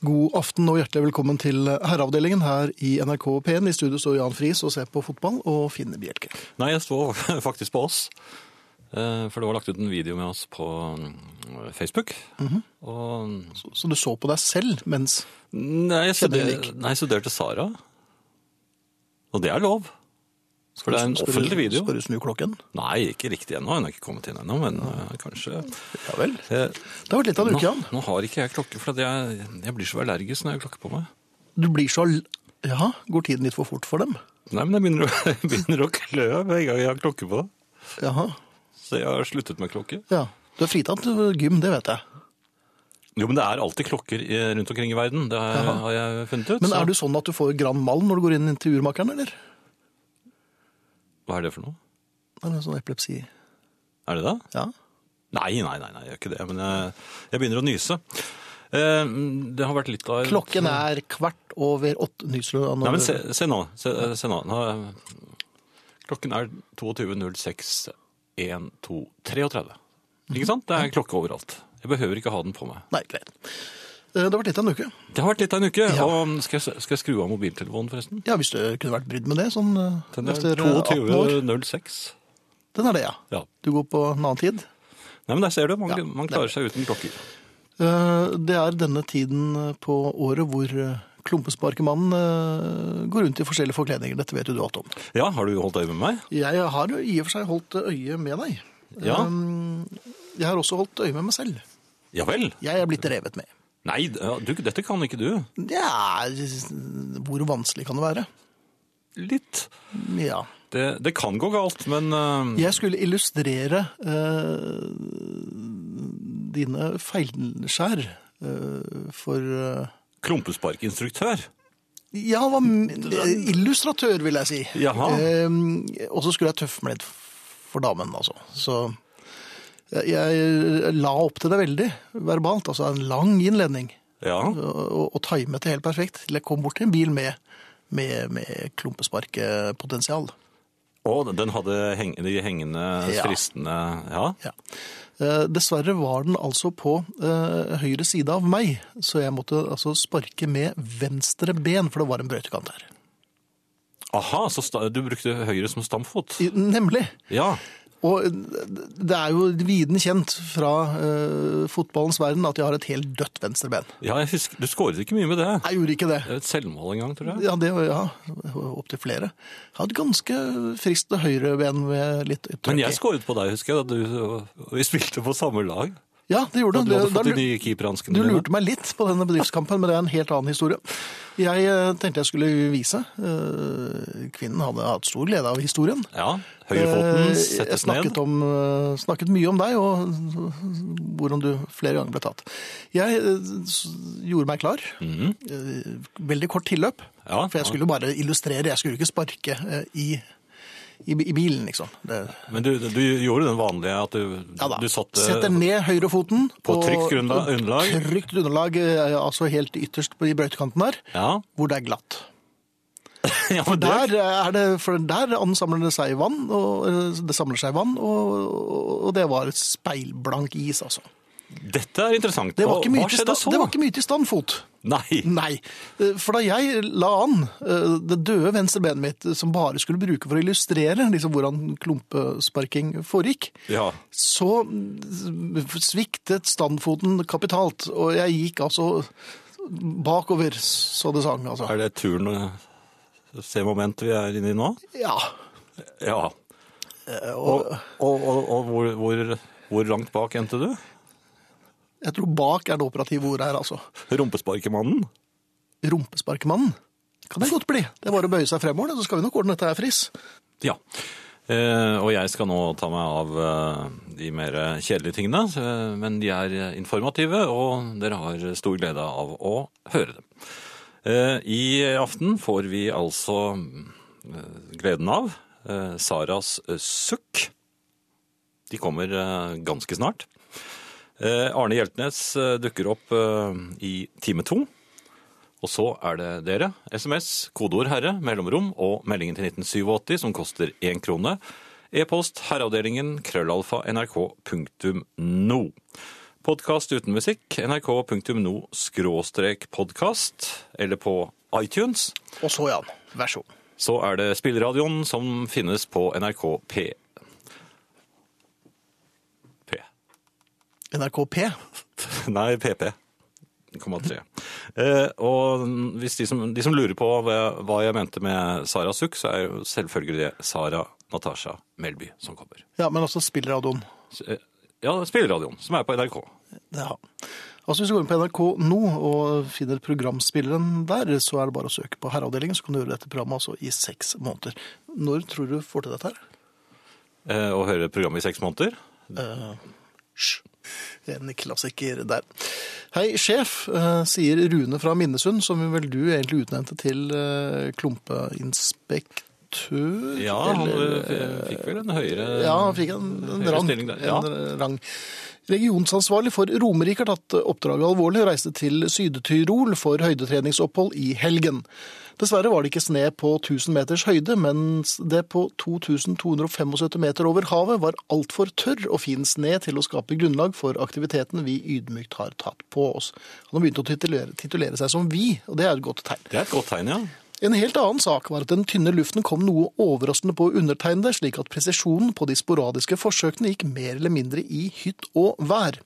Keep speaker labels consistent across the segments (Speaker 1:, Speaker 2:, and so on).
Speaker 1: God aften og hjertelig velkommen til Herreavdelingen her i NRK P1. I studio står Jan Friis og ser på fotball og Finn Bjelke.
Speaker 2: Nei, jeg står faktisk på oss. Eh, For det var lagt ut en video med oss på mm, Facebook.
Speaker 1: Mhm.
Speaker 2: Og
Speaker 1: Så- Så du så på deg selv mens
Speaker 2: nei, jeg
Speaker 1: Skjedde
Speaker 2: studer-
Speaker 1: unik.
Speaker 2: nei, jeg studerte Sara. Og det er lov. For det er en
Speaker 1: Skal du-
Speaker 2: offentlig video.
Speaker 1: Skal du snu klokken?
Speaker 2: Nei, ikke riktig ennå. Hun har ikke kommet inn ennå, men eh, kanskje.
Speaker 1: Ja vel.
Speaker 2: Eh,
Speaker 1: Det har vært litt av en
Speaker 2: nå,
Speaker 1: uke, Jan.
Speaker 2: nå har ikke jeg klokke, for at jeg, jeg blir så allergisk når jeg har klokke på meg.
Speaker 1: Du blir så al- Ja, går tiden litt for fort for dem?
Speaker 2: Nei, men jeg begynner, å- jeg begynner å klø hver gang jeg har klokke på.
Speaker 1: Jaha.
Speaker 2: Så jeg har sluttet med klokke.
Speaker 1: Ja. Du er fritatt for gym, det vet jeg.
Speaker 2: Jo, men det er alltid klokker i- rundt omkring i verden. Det har, jeg- har jeg funnet ut.
Speaker 1: Men
Speaker 2: så-
Speaker 1: er du sånn at du får Grand Mal når du går inn til urmakeren, eller?
Speaker 2: Hva er det for noe?
Speaker 1: Er det sånn epilepsi?
Speaker 2: Er det det?
Speaker 1: Ja.
Speaker 2: Nei, nei, nei, nei, jeg gjør ikke det. Men jeg, jeg begynner å nyse. Eh, Det har vært litt av
Speaker 1: Klokken er kvart over åtte. Nyser du da? når
Speaker 2: Nei, men
Speaker 1: du-
Speaker 2: se, se nå. Se, se nå. nå. Klokken er 22.06.1.2.33. Ikke sant? Det er klokke overalt. Jeg behøver ikke ha den på meg.
Speaker 1: Nei, greit. Eh, Det har vært litt av en uke.
Speaker 2: Det har vært litt av en uke.
Speaker 1: Ja.
Speaker 2: Og skal jeg, skal jeg skru av mobiltelefonen, forresten?
Speaker 1: Ja, hvis du kunne vært brydd med det, sånn eh,
Speaker 2: Den er
Speaker 1: etter 18 år.
Speaker 2: 22.06.
Speaker 1: Den er det, ja.
Speaker 2: Ja.
Speaker 1: Du går på en annen tid.
Speaker 2: Nei, men der ser du. Man,
Speaker 1: Ja,
Speaker 2: man klarer seg uten klokker.
Speaker 1: Eh, Det er denne tiden eh, på året hvor eh, klumpesparkemannen eh, går rundt i forskjellige forkledninger. Dette vet jo du alt om.
Speaker 2: Ja, har du holdt øye med meg?
Speaker 1: Jeg har jo i og for seg holdt øye med deg.
Speaker 2: Ja.
Speaker 1: Um, Jeg har også holdt øye med meg selv.
Speaker 2: Ja vel?
Speaker 1: Jeg er blitt revet med.
Speaker 2: Nei, du, dette kan ikke du.
Speaker 1: Ja, hvor vanskelig kan det være?
Speaker 2: Litt.
Speaker 1: Ja.
Speaker 2: Det, det kan gå galt, men eh,
Speaker 1: Jeg skulle illustrere eh, dine feilskjær eh, for eh,
Speaker 2: klumpesparkinstruktør
Speaker 1: Ja, han var m- eh, illustratør, vil jeg si.
Speaker 2: Jaha.
Speaker 1: Eh, og så skulle jeg tøffe meg litt for damen, altså. Så jeg, jeg la opp til det veldig verbalt. Altså en lang innledning.
Speaker 2: Ja,
Speaker 1: Og, og timet det helt perfekt til jeg kom bort til en bil med, med, med klumpesparkpotensial.
Speaker 2: og den hadde heng, de hengende,
Speaker 1: Ja.
Speaker 2: fristende Ja.
Speaker 1: Ja. Eh, Dessverre var den altså på eh, høyre side av meg, så jeg måtte altså sparke med venstre ben, for det var en brøytekant her.
Speaker 2: Aha, så sta, du brukte høyre som stamfot?
Speaker 1: I, nemlig.
Speaker 2: Ja.
Speaker 1: Og eh, det er jo viden kjent fra eh, fotballens verden at jeg har et helt dødt venstreben.
Speaker 2: ja jeg husker, du skåret ikke mye med det.
Speaker 1: Jeg gjorde ikke det.
Speaker 2: Det er Et selvmål en gang, tror jeg.
Speaker 1: Ja, det var ja, opptil flere. Jeg hadde ganske friskt høyreben med litt ytterøy.
Speaker 2: Men jeg skåret på deg, husker jeg. Da du, og vi spilte på samme lag.
Speaker 1: Ja, det gjorde
Speaker 2: Og du
Speaker 1: det.
Speaker 2: hadde
Speaker 1: Da
Speaker 2: fått
Speaker 1: lu-
Speaker 2: de nye keeperhanskene
Speaker 1: Du lurte meg litt på denne bedriftskampen, men det er en helt annen historie. Jeg eh, tenkte jeg skulle vise. eh, Kvinnen hadde hatt stor glede av historien.
Speaker 2: Ja. Høyrefoten
Speaker 1: Eh, Jeg
Speaker 2: settes
Speaker 1: snakket,
Speaker 2: ned.
Speaker 1: om, eh, snakket mye om deg, og hvordan du flere ganger ble tatt. Jeg eh, s- gjorde meg klar. Eh, Veldig kort tilløp.
Speaker 2: Mhm. Ja,
Speaker 1: for jeg
Speaker 2: ja.
Speaker 1: skulle bare illustrere, jeg skulle ikke sparke eh, i, i, i bilen, liksom. Det,
Speaker 2: Men du, du gjorde den vanlige at du,
Speaker 1: ja da.
Speaker 2: du satte
Speaker 1: Setter ned høyrefoten.
Speaker 2: på
Speaker 1: og-
Speaker 2: trygt grunnla- underlag.
Speaker 1: Trygt underlag, eh, altså helt ytterst på i brøytekanten der,
Speaker 2: Ja.
Speaker 1: hvor det er glatt.
Speaker 2: ja, men det,
Speaker 1: Der, eh, er det, for der ansamler det seg vann, og, eh, det samler seg vann, og, og det var speilblank is, altså.
Speaker 2: dette er interessant.
Speaker 1: Det var,
Speaker 2: Og
Speaker 1: ikke mye
Speaker 2: Hva
Speaker 1: til
Speaker 2: skjedde
Speaker 1: stand,
Speaker 2: så?
Speaker 1: det var ikke mye til standfot.
Speaker 2: Nei.
Speaker 1: Nei, eh, for da jeg la an eh, det døde venstre benet mitt, eh, som bare skulle bruke for å illustrere liksom, hvordan klumpesparking foregikk,
Speaker 2: Ja.
Speaker 1: så mm, sviktet standfoten kapitalt, og jeg gikk altså bakover, så det sang, altså.
Speaker 2: Er det turen eh, og se momentet vi er inne i nå?
Speaker 1: Ja,
Speaker 2: Ja. Og, og, og, og hvor, hvor, hvor langt bak endte du?
Speaker 1: jeg tror bak er det operative ordet her, altså.
Speaker 2: Rumpesparkemannen?
Speaker 1: Rumpesparkemannen. Kan det godt bli. Det er bare å bøye seg fremover, det, så skal vi nok ordne dette her, Friis.
Speaker 2: Ja. Eh, og jeg skal nå ta meg av eh, de mer kjedelige tingene, eh, men de er informative, og dere har stor glede av å høre dem. Eh, I aften får vi altså eh, gleden av eh, Saras sukk. De kommer eh, ganske snart. Eh, Arne Hjeltnes eh, dukker opp eh, i time to. Og så er det dere. SMS, kodeord 'herre', mellomrom og meldingen til 1987 som koster én krone. E-post herreavdelingen krøllalfa nrk.no. Podkast uten musikk, nrk.no-podkast, eller på iTunes.
Speaker 1: Og så, Jan. Vær så god.
Speaker 2: Så er det spilleradioen som finnes på NRK P. P.
Speaker 1: NRK P.
Speaker 2: Nei, PP. 0,3. Eh, og hvis de som, de som lurer på hva jeg, hva jeg mente med Sara Sukk, så er jo selvfølgelig det Sara Natasha Melby som kommer.
Speaker 1: Ja, men også spillradioen.
Speaker 2: Så, eh, Ja, spilleradioen, som er på NRK.
Speaker 1: Ja. Altså Hvis du går inn på NRK nå og finner programspilleren der, så er det bare å søke på Herreavdelingen, så kan du gjøre dette programmet altså i seks måneder. Når tror du du får til dette her?
Speaker 2: Eh, og hører programmet i seks måneder.
Speaker 1: Hysj. En klassiker der. Hei, sjef, eh, sier Rune fra Minnesund, som vel du egentlig utnevnte til eh, klumpeinspektør?
Speaker 2: Ja, han
Speaker 1: eller,
Speaker 2: eh, fikk vel en høyere
Speaker 1: Ja, han fikk en, en
Speaker 2: Høyere
Speaker 1: rang.
Speaker 2: stilling der, ja.
Speaker 1: En rang. Regionsansvarlig for Romerike har tatt oppdraget alvorlig og reiste til Syd-Tyrol for høydetreningsopphold i helgen. Dessverre var det ikke sne på 1000 meters høyde, mens det på 2275 meter over havet var altfor tørr og fin sne til å skape grunnlag for aktiviteten vi ydmykt har tatt på oss. Han har begynt å titulere, titulere seg som vi, og det er et godt tegn.
Speaker 2: Det er et godt tegn, ja.
Speaker 1: En helt annen sak var at den tynne luften kom noe overraskende på undertegnede, slik at presisjonen på de sporadiske forsøkene gikk mer eller mindre i hytt og vær.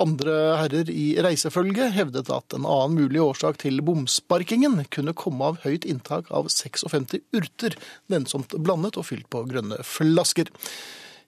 Speaker 1: Andre herrer i reisefølget hevdet at en annen mulig årsak til bomsparkingen kunne komme av høyt inntak av 56 urter, nennsomt blandet og fylt på grønne flasker.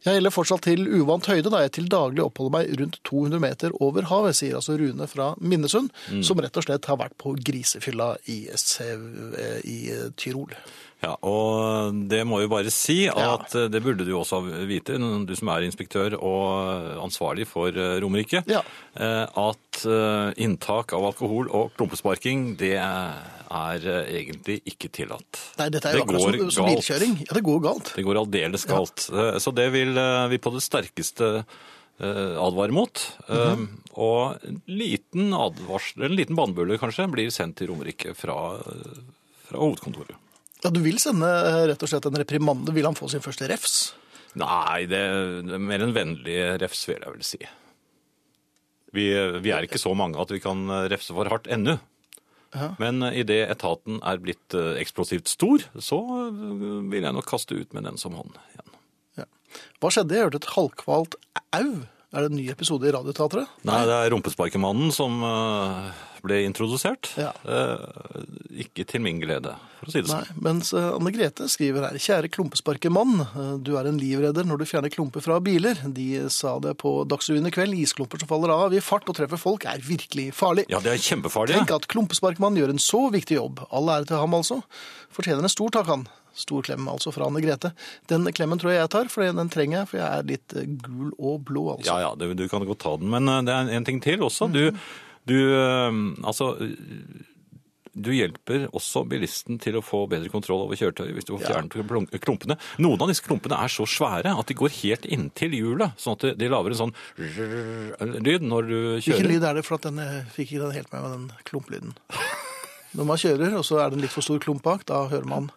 Speaker 1: Jeg gjelder fortsatt til uvant høyde, da jeg til daglig oppholder meg rundt 200 meter over havet, sier altså Rune fra Minnesund, som rett og slett har vært på grisefylla i, Sev- eh, i Tyrol.
Speaker 2: Ja, og det må jo bare si
Speaker 1: Ja.
Speaker 2: at eh, det burde du jo også vite, du som er inspektør og ansvarlig for eh, Romerike,
Speaker 1: Ja.
Speaker 2: eh, at eh, inntak av alkohol og klumpesparking, det eh, er eh, egentlig ikke tillatt.
Speaker 1: Nei, dette er jo akkurat som, som bilkjøring. Ja, det går galt.
Speaker 2: Det går aldeles galt. Eh, Så det vil eh, vi på det sterkeste eh, advare mot. Eh,
Speaker 1: Mhm.
Speaker 2: Og en liten advarsel, en liten bannbulle kanskje, blir sendt til Romerike fra, eh, fra hovedkontoret.
Speaker 1: Ja, du vil sende eh, rett og slett en reprimande. Vil han få sin første refs?
Speaker 2: Nei, det det er mer en vennlig refs, vil jeg vel si. Vi, vi er ikke så mange at vi kan eh, refse for hardt ennå.
Speaker 1: Ja.
Speaker 2: Men idet etaten er blitt eh, eksplosivt stor, så eh, vil jeg nok kaste ut med den som hånd igjen.
Speaker 1: Ja. Hva skjedde? Jeg hørte et halvkvalt au. Er det en ny episode i Radioteatret?
Speaker 2: Nei, det er Rumpesparkemannen som eh, ble introdusert.
Speaker 1: Ja.
Speaker 2: Eh, Ikke til min glede, for å si det
Speaker 1: Nei,
Speaker 2: sånn.
Speaker 1: mens eh, Anne Grete skriver her Kjære klumpesparkemann, eh, du er en livredder når du fjerner klumper fra biler. De sa det på Dagsrevyen i kveld. Isklumper som faller av i fart og treffer folk er virkelig farlig.
Speaker 2: Ja, det er kjempefarlig.
Speaker 1: Tenk at klumpesparkmannen gjør en så viktig jobb. All ære til ham, altså. Fortjener en stor takk, han. Stor klem altså fra Anne Grete. Den klemmen tror jeg jeg tar, for den trenger jeg, for jeg er litt eh, gul og blå, altså.
Speaker 2: Ja, ja, det, du kan godt ta den. Men eh, det er en ting til også. Du, du eh, altså eh, du hjelper også bilisten til å få bedre kontroll over kjøretøyet hvis du får fjernet plunk- klumpene. Noen av disse klumpene er så svære at de går helt inntil hjulet, sånn at de- de lager en sånn lyd når du
Speaker 1: Hvilken
Speaker 2: kjører.
Speaker 1: lyd er det, for at den eh, fikk ikke den helt med med den klumplyden. Når man kjører, og så er det en litt for stor klump bak, da hører man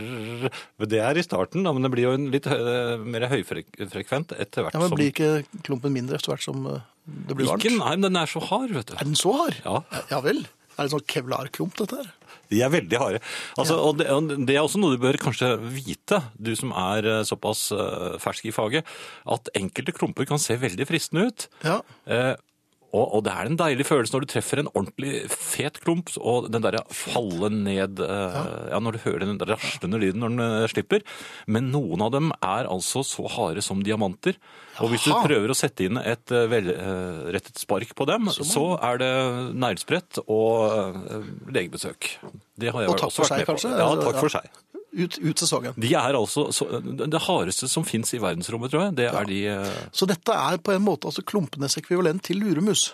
Speaker 2: Men Det er i starten, da, men det blir jo en litt hø mer høyfrekvent etter hvert
Speaker 1: Ja, men
Speaker 2: som
Speaker 1: Blir ikke klumpen mindre etter hvert som eh, det blir varmt?
Speaker 2: Ikke, nei, men den er så hard, vet du.
Speaker 1: Er den så hard?
Speaker 2: Ja.
Speaker 1: ja vel. Er det en sånn kevlarklump, dette her?
Speaker 2: De er veldig harde. Altså, og det, og det er også noe du bør kanskje vite, du som er eh, såpass eh, fersk i faget, at enkelte klumper kan se veldig fristende ut.
Speaker 1: Ja.
Speaker 2: Eh, og, og det er en deilig følelse når du treffer en ordentlig fet klump, og den der faller ned eh, ja, Når du hører den raslende lyden når den eh, slipper. Men noen av dem er altså så harde som diamanter. Og hvis du
Speaker 1: Jaha.
Speaker 2: prøver å sette inn et eh, velrettet spark på dem, så er det neglesprett og eh, legebesøk. Det har jeg
Speaker 1: Og takk for
Speaker 2: også vært
Speaker 1: seg,
Speaker 2: med på.
Speaker 1: kanskje?
Speaker 2: Ja,
Speaker 1: Altså,
Speaker 2: takk
Speaker 1: ja.
Speaker 2: for seg.
Speaker 1: Ut, ut sesongen.
Speaker 2: De er altså så, Det hardeste som fins i verdensrommet, tror jeg, det er de eh,
Speaker 1: Så dette er på en måte altså klumpenes ekvivalent til luremus.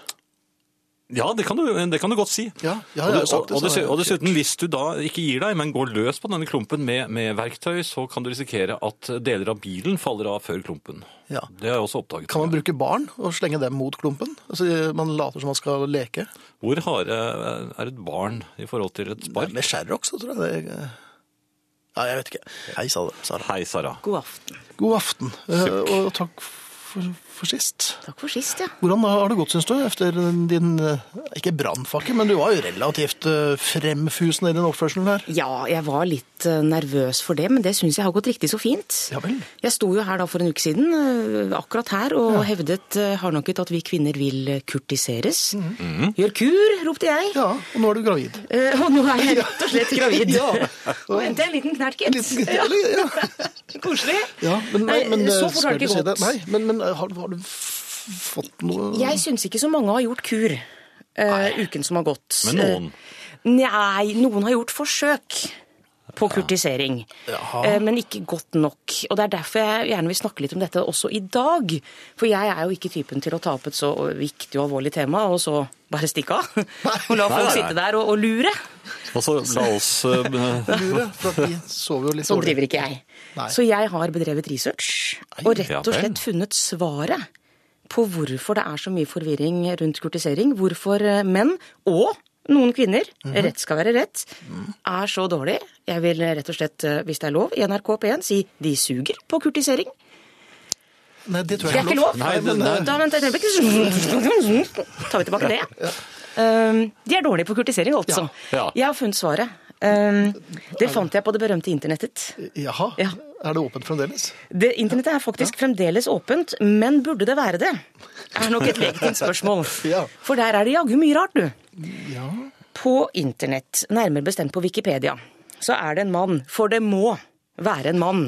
Speaker 2: Ja, det kan du, det kan du godt si.
Speaker 1: Ja, ja, jeg
Speaker 2: Og du-
Speaker 1: har sagt det,
Speaker 2: og, og,
Speaker 1: så
Speaker 2: dessuten,
Speaker 1: jeg-
Speaker 2: og dessuten, hvis du da ikke gir deg, men går løs på denne klumpen med, med verktøy, så kan du risikere at deler av bilen faller av før klumpen.
Speaker 1: Ja.
Speaker 2: Det har jeg også oppdaget.
Speaker 1: Kan man bruke barn og slenge dem mot klumpen? Altså, Man later som man skal leke.
Speaker 2: Hvor harde er et barn i forhold til et spark?
Speaker 1: Med skjærrock, så tror jeg det eh, Ja, jeg vet ikke. Hei, sa det. Sara.
Speaker 2: Hei, Sara.
Speaker 3: God aften.
Speaker 1: God aften, eh, og takk for, for sist.
Speaker 3: Takk for sist, ja.
Speaker 1: Hvordan har det gått, syns du, etter din eh, Ikke brannfakkel, men du var jo relativt eh, fremfusende i din oppførsel her.
Speaker 3: Ja, jeg var litt eh, nervøs for det, men det syns jeg har gått riktig så fint.
Speaker 1: Ja vel.
Speaker 3: Jeg sto jo her da for en uke siden, eh, akkurat her, og hevdet eh, hardnakket at vi kvinner vil kurtiseres.
Speaker 1: Mm.
Speaker 3: Gjør kur, ropte jeg.
Speaker 1: Ja, og nå er du gravid.
Speaker 3: Eh, Og nå er jeg rett og slett gravid.
Speaker 1: Ja.
Speaker 3: Nå endte jeg en liten knert,
Speaker 1: En
Speaker 3: gitt.
Speaker 1: liten
Speaker 3: Ja,
Speaker 1: gledelig, ja.
Speaker 3: Koselig.
Speaker 1: ja men, nei, men,
Speaker 3: så
Speaker 1: eh,
Speaker 3: fort har det
Speaker 1: skal
Speaker 3: ikke
Speaker 1: du
Speaker 3: gått.
Speaker 1: si det. Nei, men, men eh, har, har du f- fått noe
Speaker 3: Jeg syns ikke så mange har gjort kur eh, uken som har gått.
Speaker 2: Men noen.
Speaker 3: Eh, Nei, noen har gjort forsøk. På kurtisering,
Speaker 1: Jaha.
Speaker 3: Eh, men ikke godt nok. Og Det er derfor jeg gjerne vil snakke litt om dette også i dag. For jeg er jo ikke typen til å ta opp et så viktig og alvorlig tema, og så bare stikke av. Og la
Speaker 2: Nei, nei,
Speaker 3: folk
Speaker 2: nei.
Speaker 3: sitte der og, og lure.
Speaker 2: Og så la oss eh,
Speaker 1: lure? For at vi sover jo litt
Speaker 3: Sånn driver ikke jeg.
Speaker 1: Nei.
Speaker 3: Så jeg har bedrevet research, og rett
Speaker 2: ja
Speaker 3: og slett funnet svaret på hvorfor det er så mye forvirring rundt kurtisering. Hvorfor eh, menn, og noen kvinner,
Speaker 2: Mhm.
Speaker 3: rett skal være rett, er så dårlig. Jeg vil rett og slett, eh, hvis det er lov, i NRK P1 si de suger på kurtisering.
Speaker 1: Nei, det tror
Speaker 3: Det er
Speaker 1: jeg
Speaker 3: ikke lov.
Speaker 2: Nei, det-
Speaker 1: men, eh,
Speaker 2: nei.
Speaker 3: Da vent et øyeblikk. Tar vi tilbake det. Um, De er dårlige på kurtisering, altså.
Speaker 2: Ja. Ja.
Speaker 3: Jeg har funnet svaret. Um, Det fant jeg på det berømte internettet.
Speaker 1: eh, Jaha.
Speaker 3: Ja.
Speaker 1: Er det åpent fremdeles?
Speaker 3: Det, internettet er faktisk fremdeles åpent, men burde det være det? Er nok et legitimt spørsmål.
Speaker 1: Ja.
Speaker 3: For der er det jaggu mye rart, du.
Speaker 1: Ja.
Speaker 3: På internett, nærmere bestemt på Wikipedia, så er det en mann, for det må være en mann,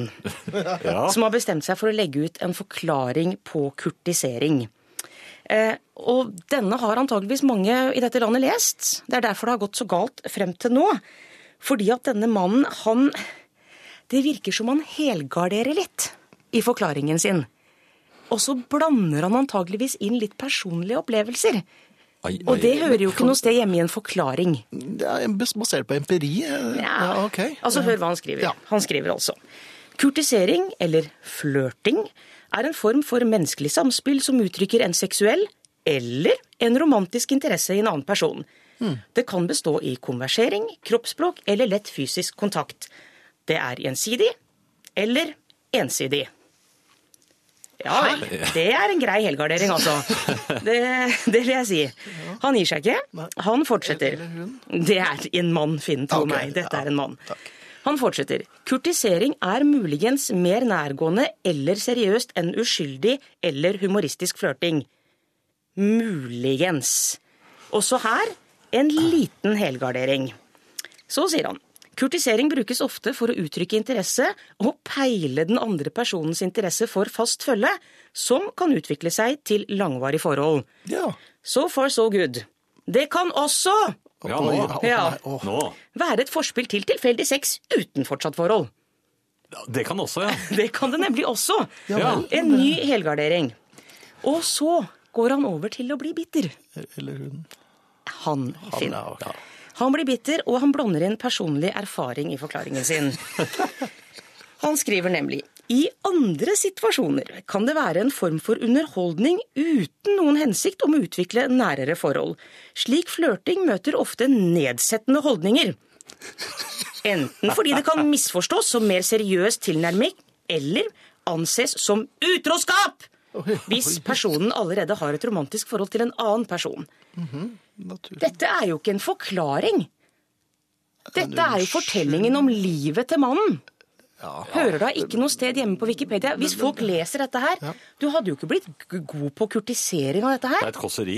Speaker 2: ja.
Speaker 3: som har bestemt seg for å legge ut en forklaring på kurtisering. Eh, og denne har antageligvis mange i dette landet lest. Det er derfor det har gått så galt frem til nå. Fordi at denne mannen, han Det virker som han helgarderer litt i forklaringen sin. Og så blander han antageligvis inn litt personlige opplevelser.
Speaker 2: Ai,
Speaker 3: Og
Speaker 2: ai.
Speaker 3: det hører jo ikke noe sted hjemme i en forklaring.
Speaker 1: Det er bas- basert på empiri. eh, Ja, ok.
Speaker 3: Altså, hør hva han skriver.
Speaker 1: Ja.
Speaker 3: Han skriver altså Kurtisering, eller flørting, er en form for menneskelig samspill som uttrykker en seksuell eller en romantisk interesse i en annen person.
Speaker 1: Hmm.
Speaker 3: Det kan bestå i konversering, kroppsspråk eller lett fysisk kontakt. Det er gjensidig eller ensidig. Ja vel. Det er en grei helgardering, altså. Det, det vil jeg si. Han gir seg ikke. Han fortsetter. Det er en mann, Finn. Tro
Speaker 1: Ok,
Speaker 3: meg. Dette
Speaker 1: ja,
Speaker 3: er en mann.
Speaker 1: takk.
Speaker 3: Han fortsetter. Kurtisering er muligens mer nærgående eller seriøst enn uskyldig eller humoristisk flørting. Muligens. Også her en liten helgardering. Så sier han. Kurtisering brukes ofte for å uttrykke interesse og peile den andre personens interesse for fast følge, som kan utvikle seg til langvarig forhold.
Speaker 1: Ja.
Speaker 3: So far so good. Det kan også
Speaker 2: Ja, nå.
Speaker 1: Oi, å,
Speaker 3: Ja.
Speaker 1: nei, å.
Speaker 2: nå.
Speaker 3: være et forspill til tilfeldig sex uten fortsatt forhold.
Speaker 2: Det kan også, ja.
Speaker 3: Det kan det nemlig også.
Speaker 2: Ja.
Speaker 3: En ny helgardering. Og så går han over til å bli bitter.
Speaker 1: Eller hun.
Speaker 3: Han, Finn.
Speaker 1: ja, ok.
Speaker 3: Han blir bitter, og han blander inn personlig erfaring i forklaringen sin. Han skriver nemlig i andre situasjoner kan det være en form for underholdning uten noen hensikt om å utvikle nærere forhold. Slik flørting møter ofte nedsettende holdninger. Enten fordi det kan misforstås som mer seriøs tilnærming, eller anses som utroskap! Hvis personen allerede har et romantisk forhold til en annen person.
Speaker 1: Naturlig.
Speaker 3: Dette er jo ikke en forklaring. Dette er jo fortellingen om livet til mannen. Hører da ikke noe sted hjemme på Wikipedia. Hvis folk leser dette her Du hadde jo ikke blitt g- god på kurtisering av dette
Speaker 2: Det
Speaker 3: her.
Speaker 2: er et kåseri.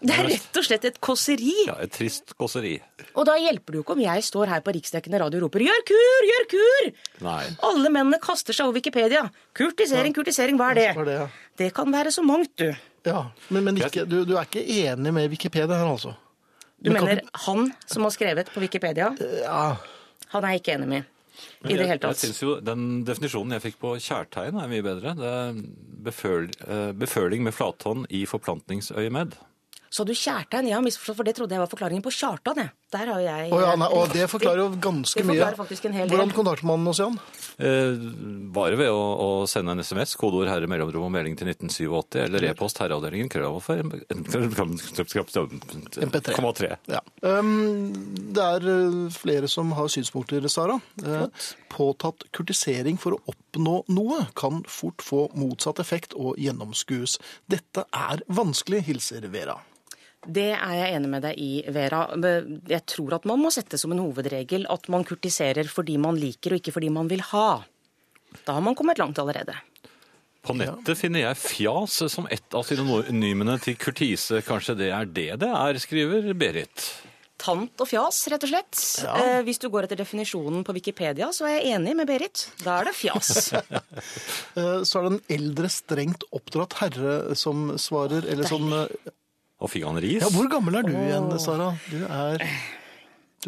Speaker 3: Det er rett og slett et kåseri.
Speaker 2: Ja, et trist kåseri.
Speaker 3: Og da hjelper det jo ikke om jeg står her på riksdekkende radio og roper 'gjør kur, gjør kur'!
Speaker 2: Nei.
Speaker 3: Alle mennene kaster seg over Wikipedia. Kurtisering, kurtisering, hva er det?
Speaker 1: Hva er det, ja?
Speaker 3: Det kan være så mangt, du.
Speaker 1: Ja. Men, men ikke, du, du er ikke enig med Wikipedia her, altså?
Speaker 3: Du
Speaker 1: Men kan
Speaker 3: mener han som har skrevet på Wikipedia?
Speaker 1: Ja.
Speaker 3: Han er jeg ikke enig med. I det hele
Speaker 2: Jeg, jeg
Speaker 3: tatt.
Speaker 2: synes jo Den definisjonen jeg fikk på kjærtegn, er mye bedre. Det er beføl, eh, beføling med flathånd i forplantningsøyemed.
Speaker 3: Så du Kjartan? Jeg har misforstått, for det trodde jeg var forklaringen på Kjartan. Jeg. Der har jeg...
Speaker 1: Å, ja, nei, å, det forklarer jo ganske
Speaker 3: Det
Speaker 1: mye.
Speaker 3: forklarer faktisk en hel del.
Speaker 1: Hvordan kontakter man oss, Jan?
Speaker 2: Eh, bare ved å, å sende en SMS, kodeord 'herre mellomrom' og melding til 1987, eller e-post herreavdelingen krøllalfa
Speaker 1: MP3.
Speaker 2: 3
Speaker 1: Ja. Um, det er eh, flere som har synspunkter, Sara. Eh, Påtatt kurtisering for å oppnå noe kan fort få motsatt effekt og gjennomskues. Dette er vanskelig, hilser Vera.
Speaker 3: Det er jeg enig med deg i, Vera. Jeg tror at man må sette som en hovedregel at man kurtiserer fordi man liker og ikke fordi man vil ha. Da har man kommet langt allerede.
Speaker 2: På nettet finner jeg fjas som ett av synonymene til kurtise. Kanskje det er det det er, skriver Berit.
Speaker 3: Tant og fjas, rett og slett. Eh, hvis du går etter definisjonen på Wikipedia, så er jeg enig med Berit. Da er det fjas.
Speaker 1: Eh, Så er det en eldre, strengt oppdratt herre som svarer, eller som eh,
Speaker 2: Og fikk han ris?
Speaker 1: Ja, hvor gammel er du igjen, Sara? Du er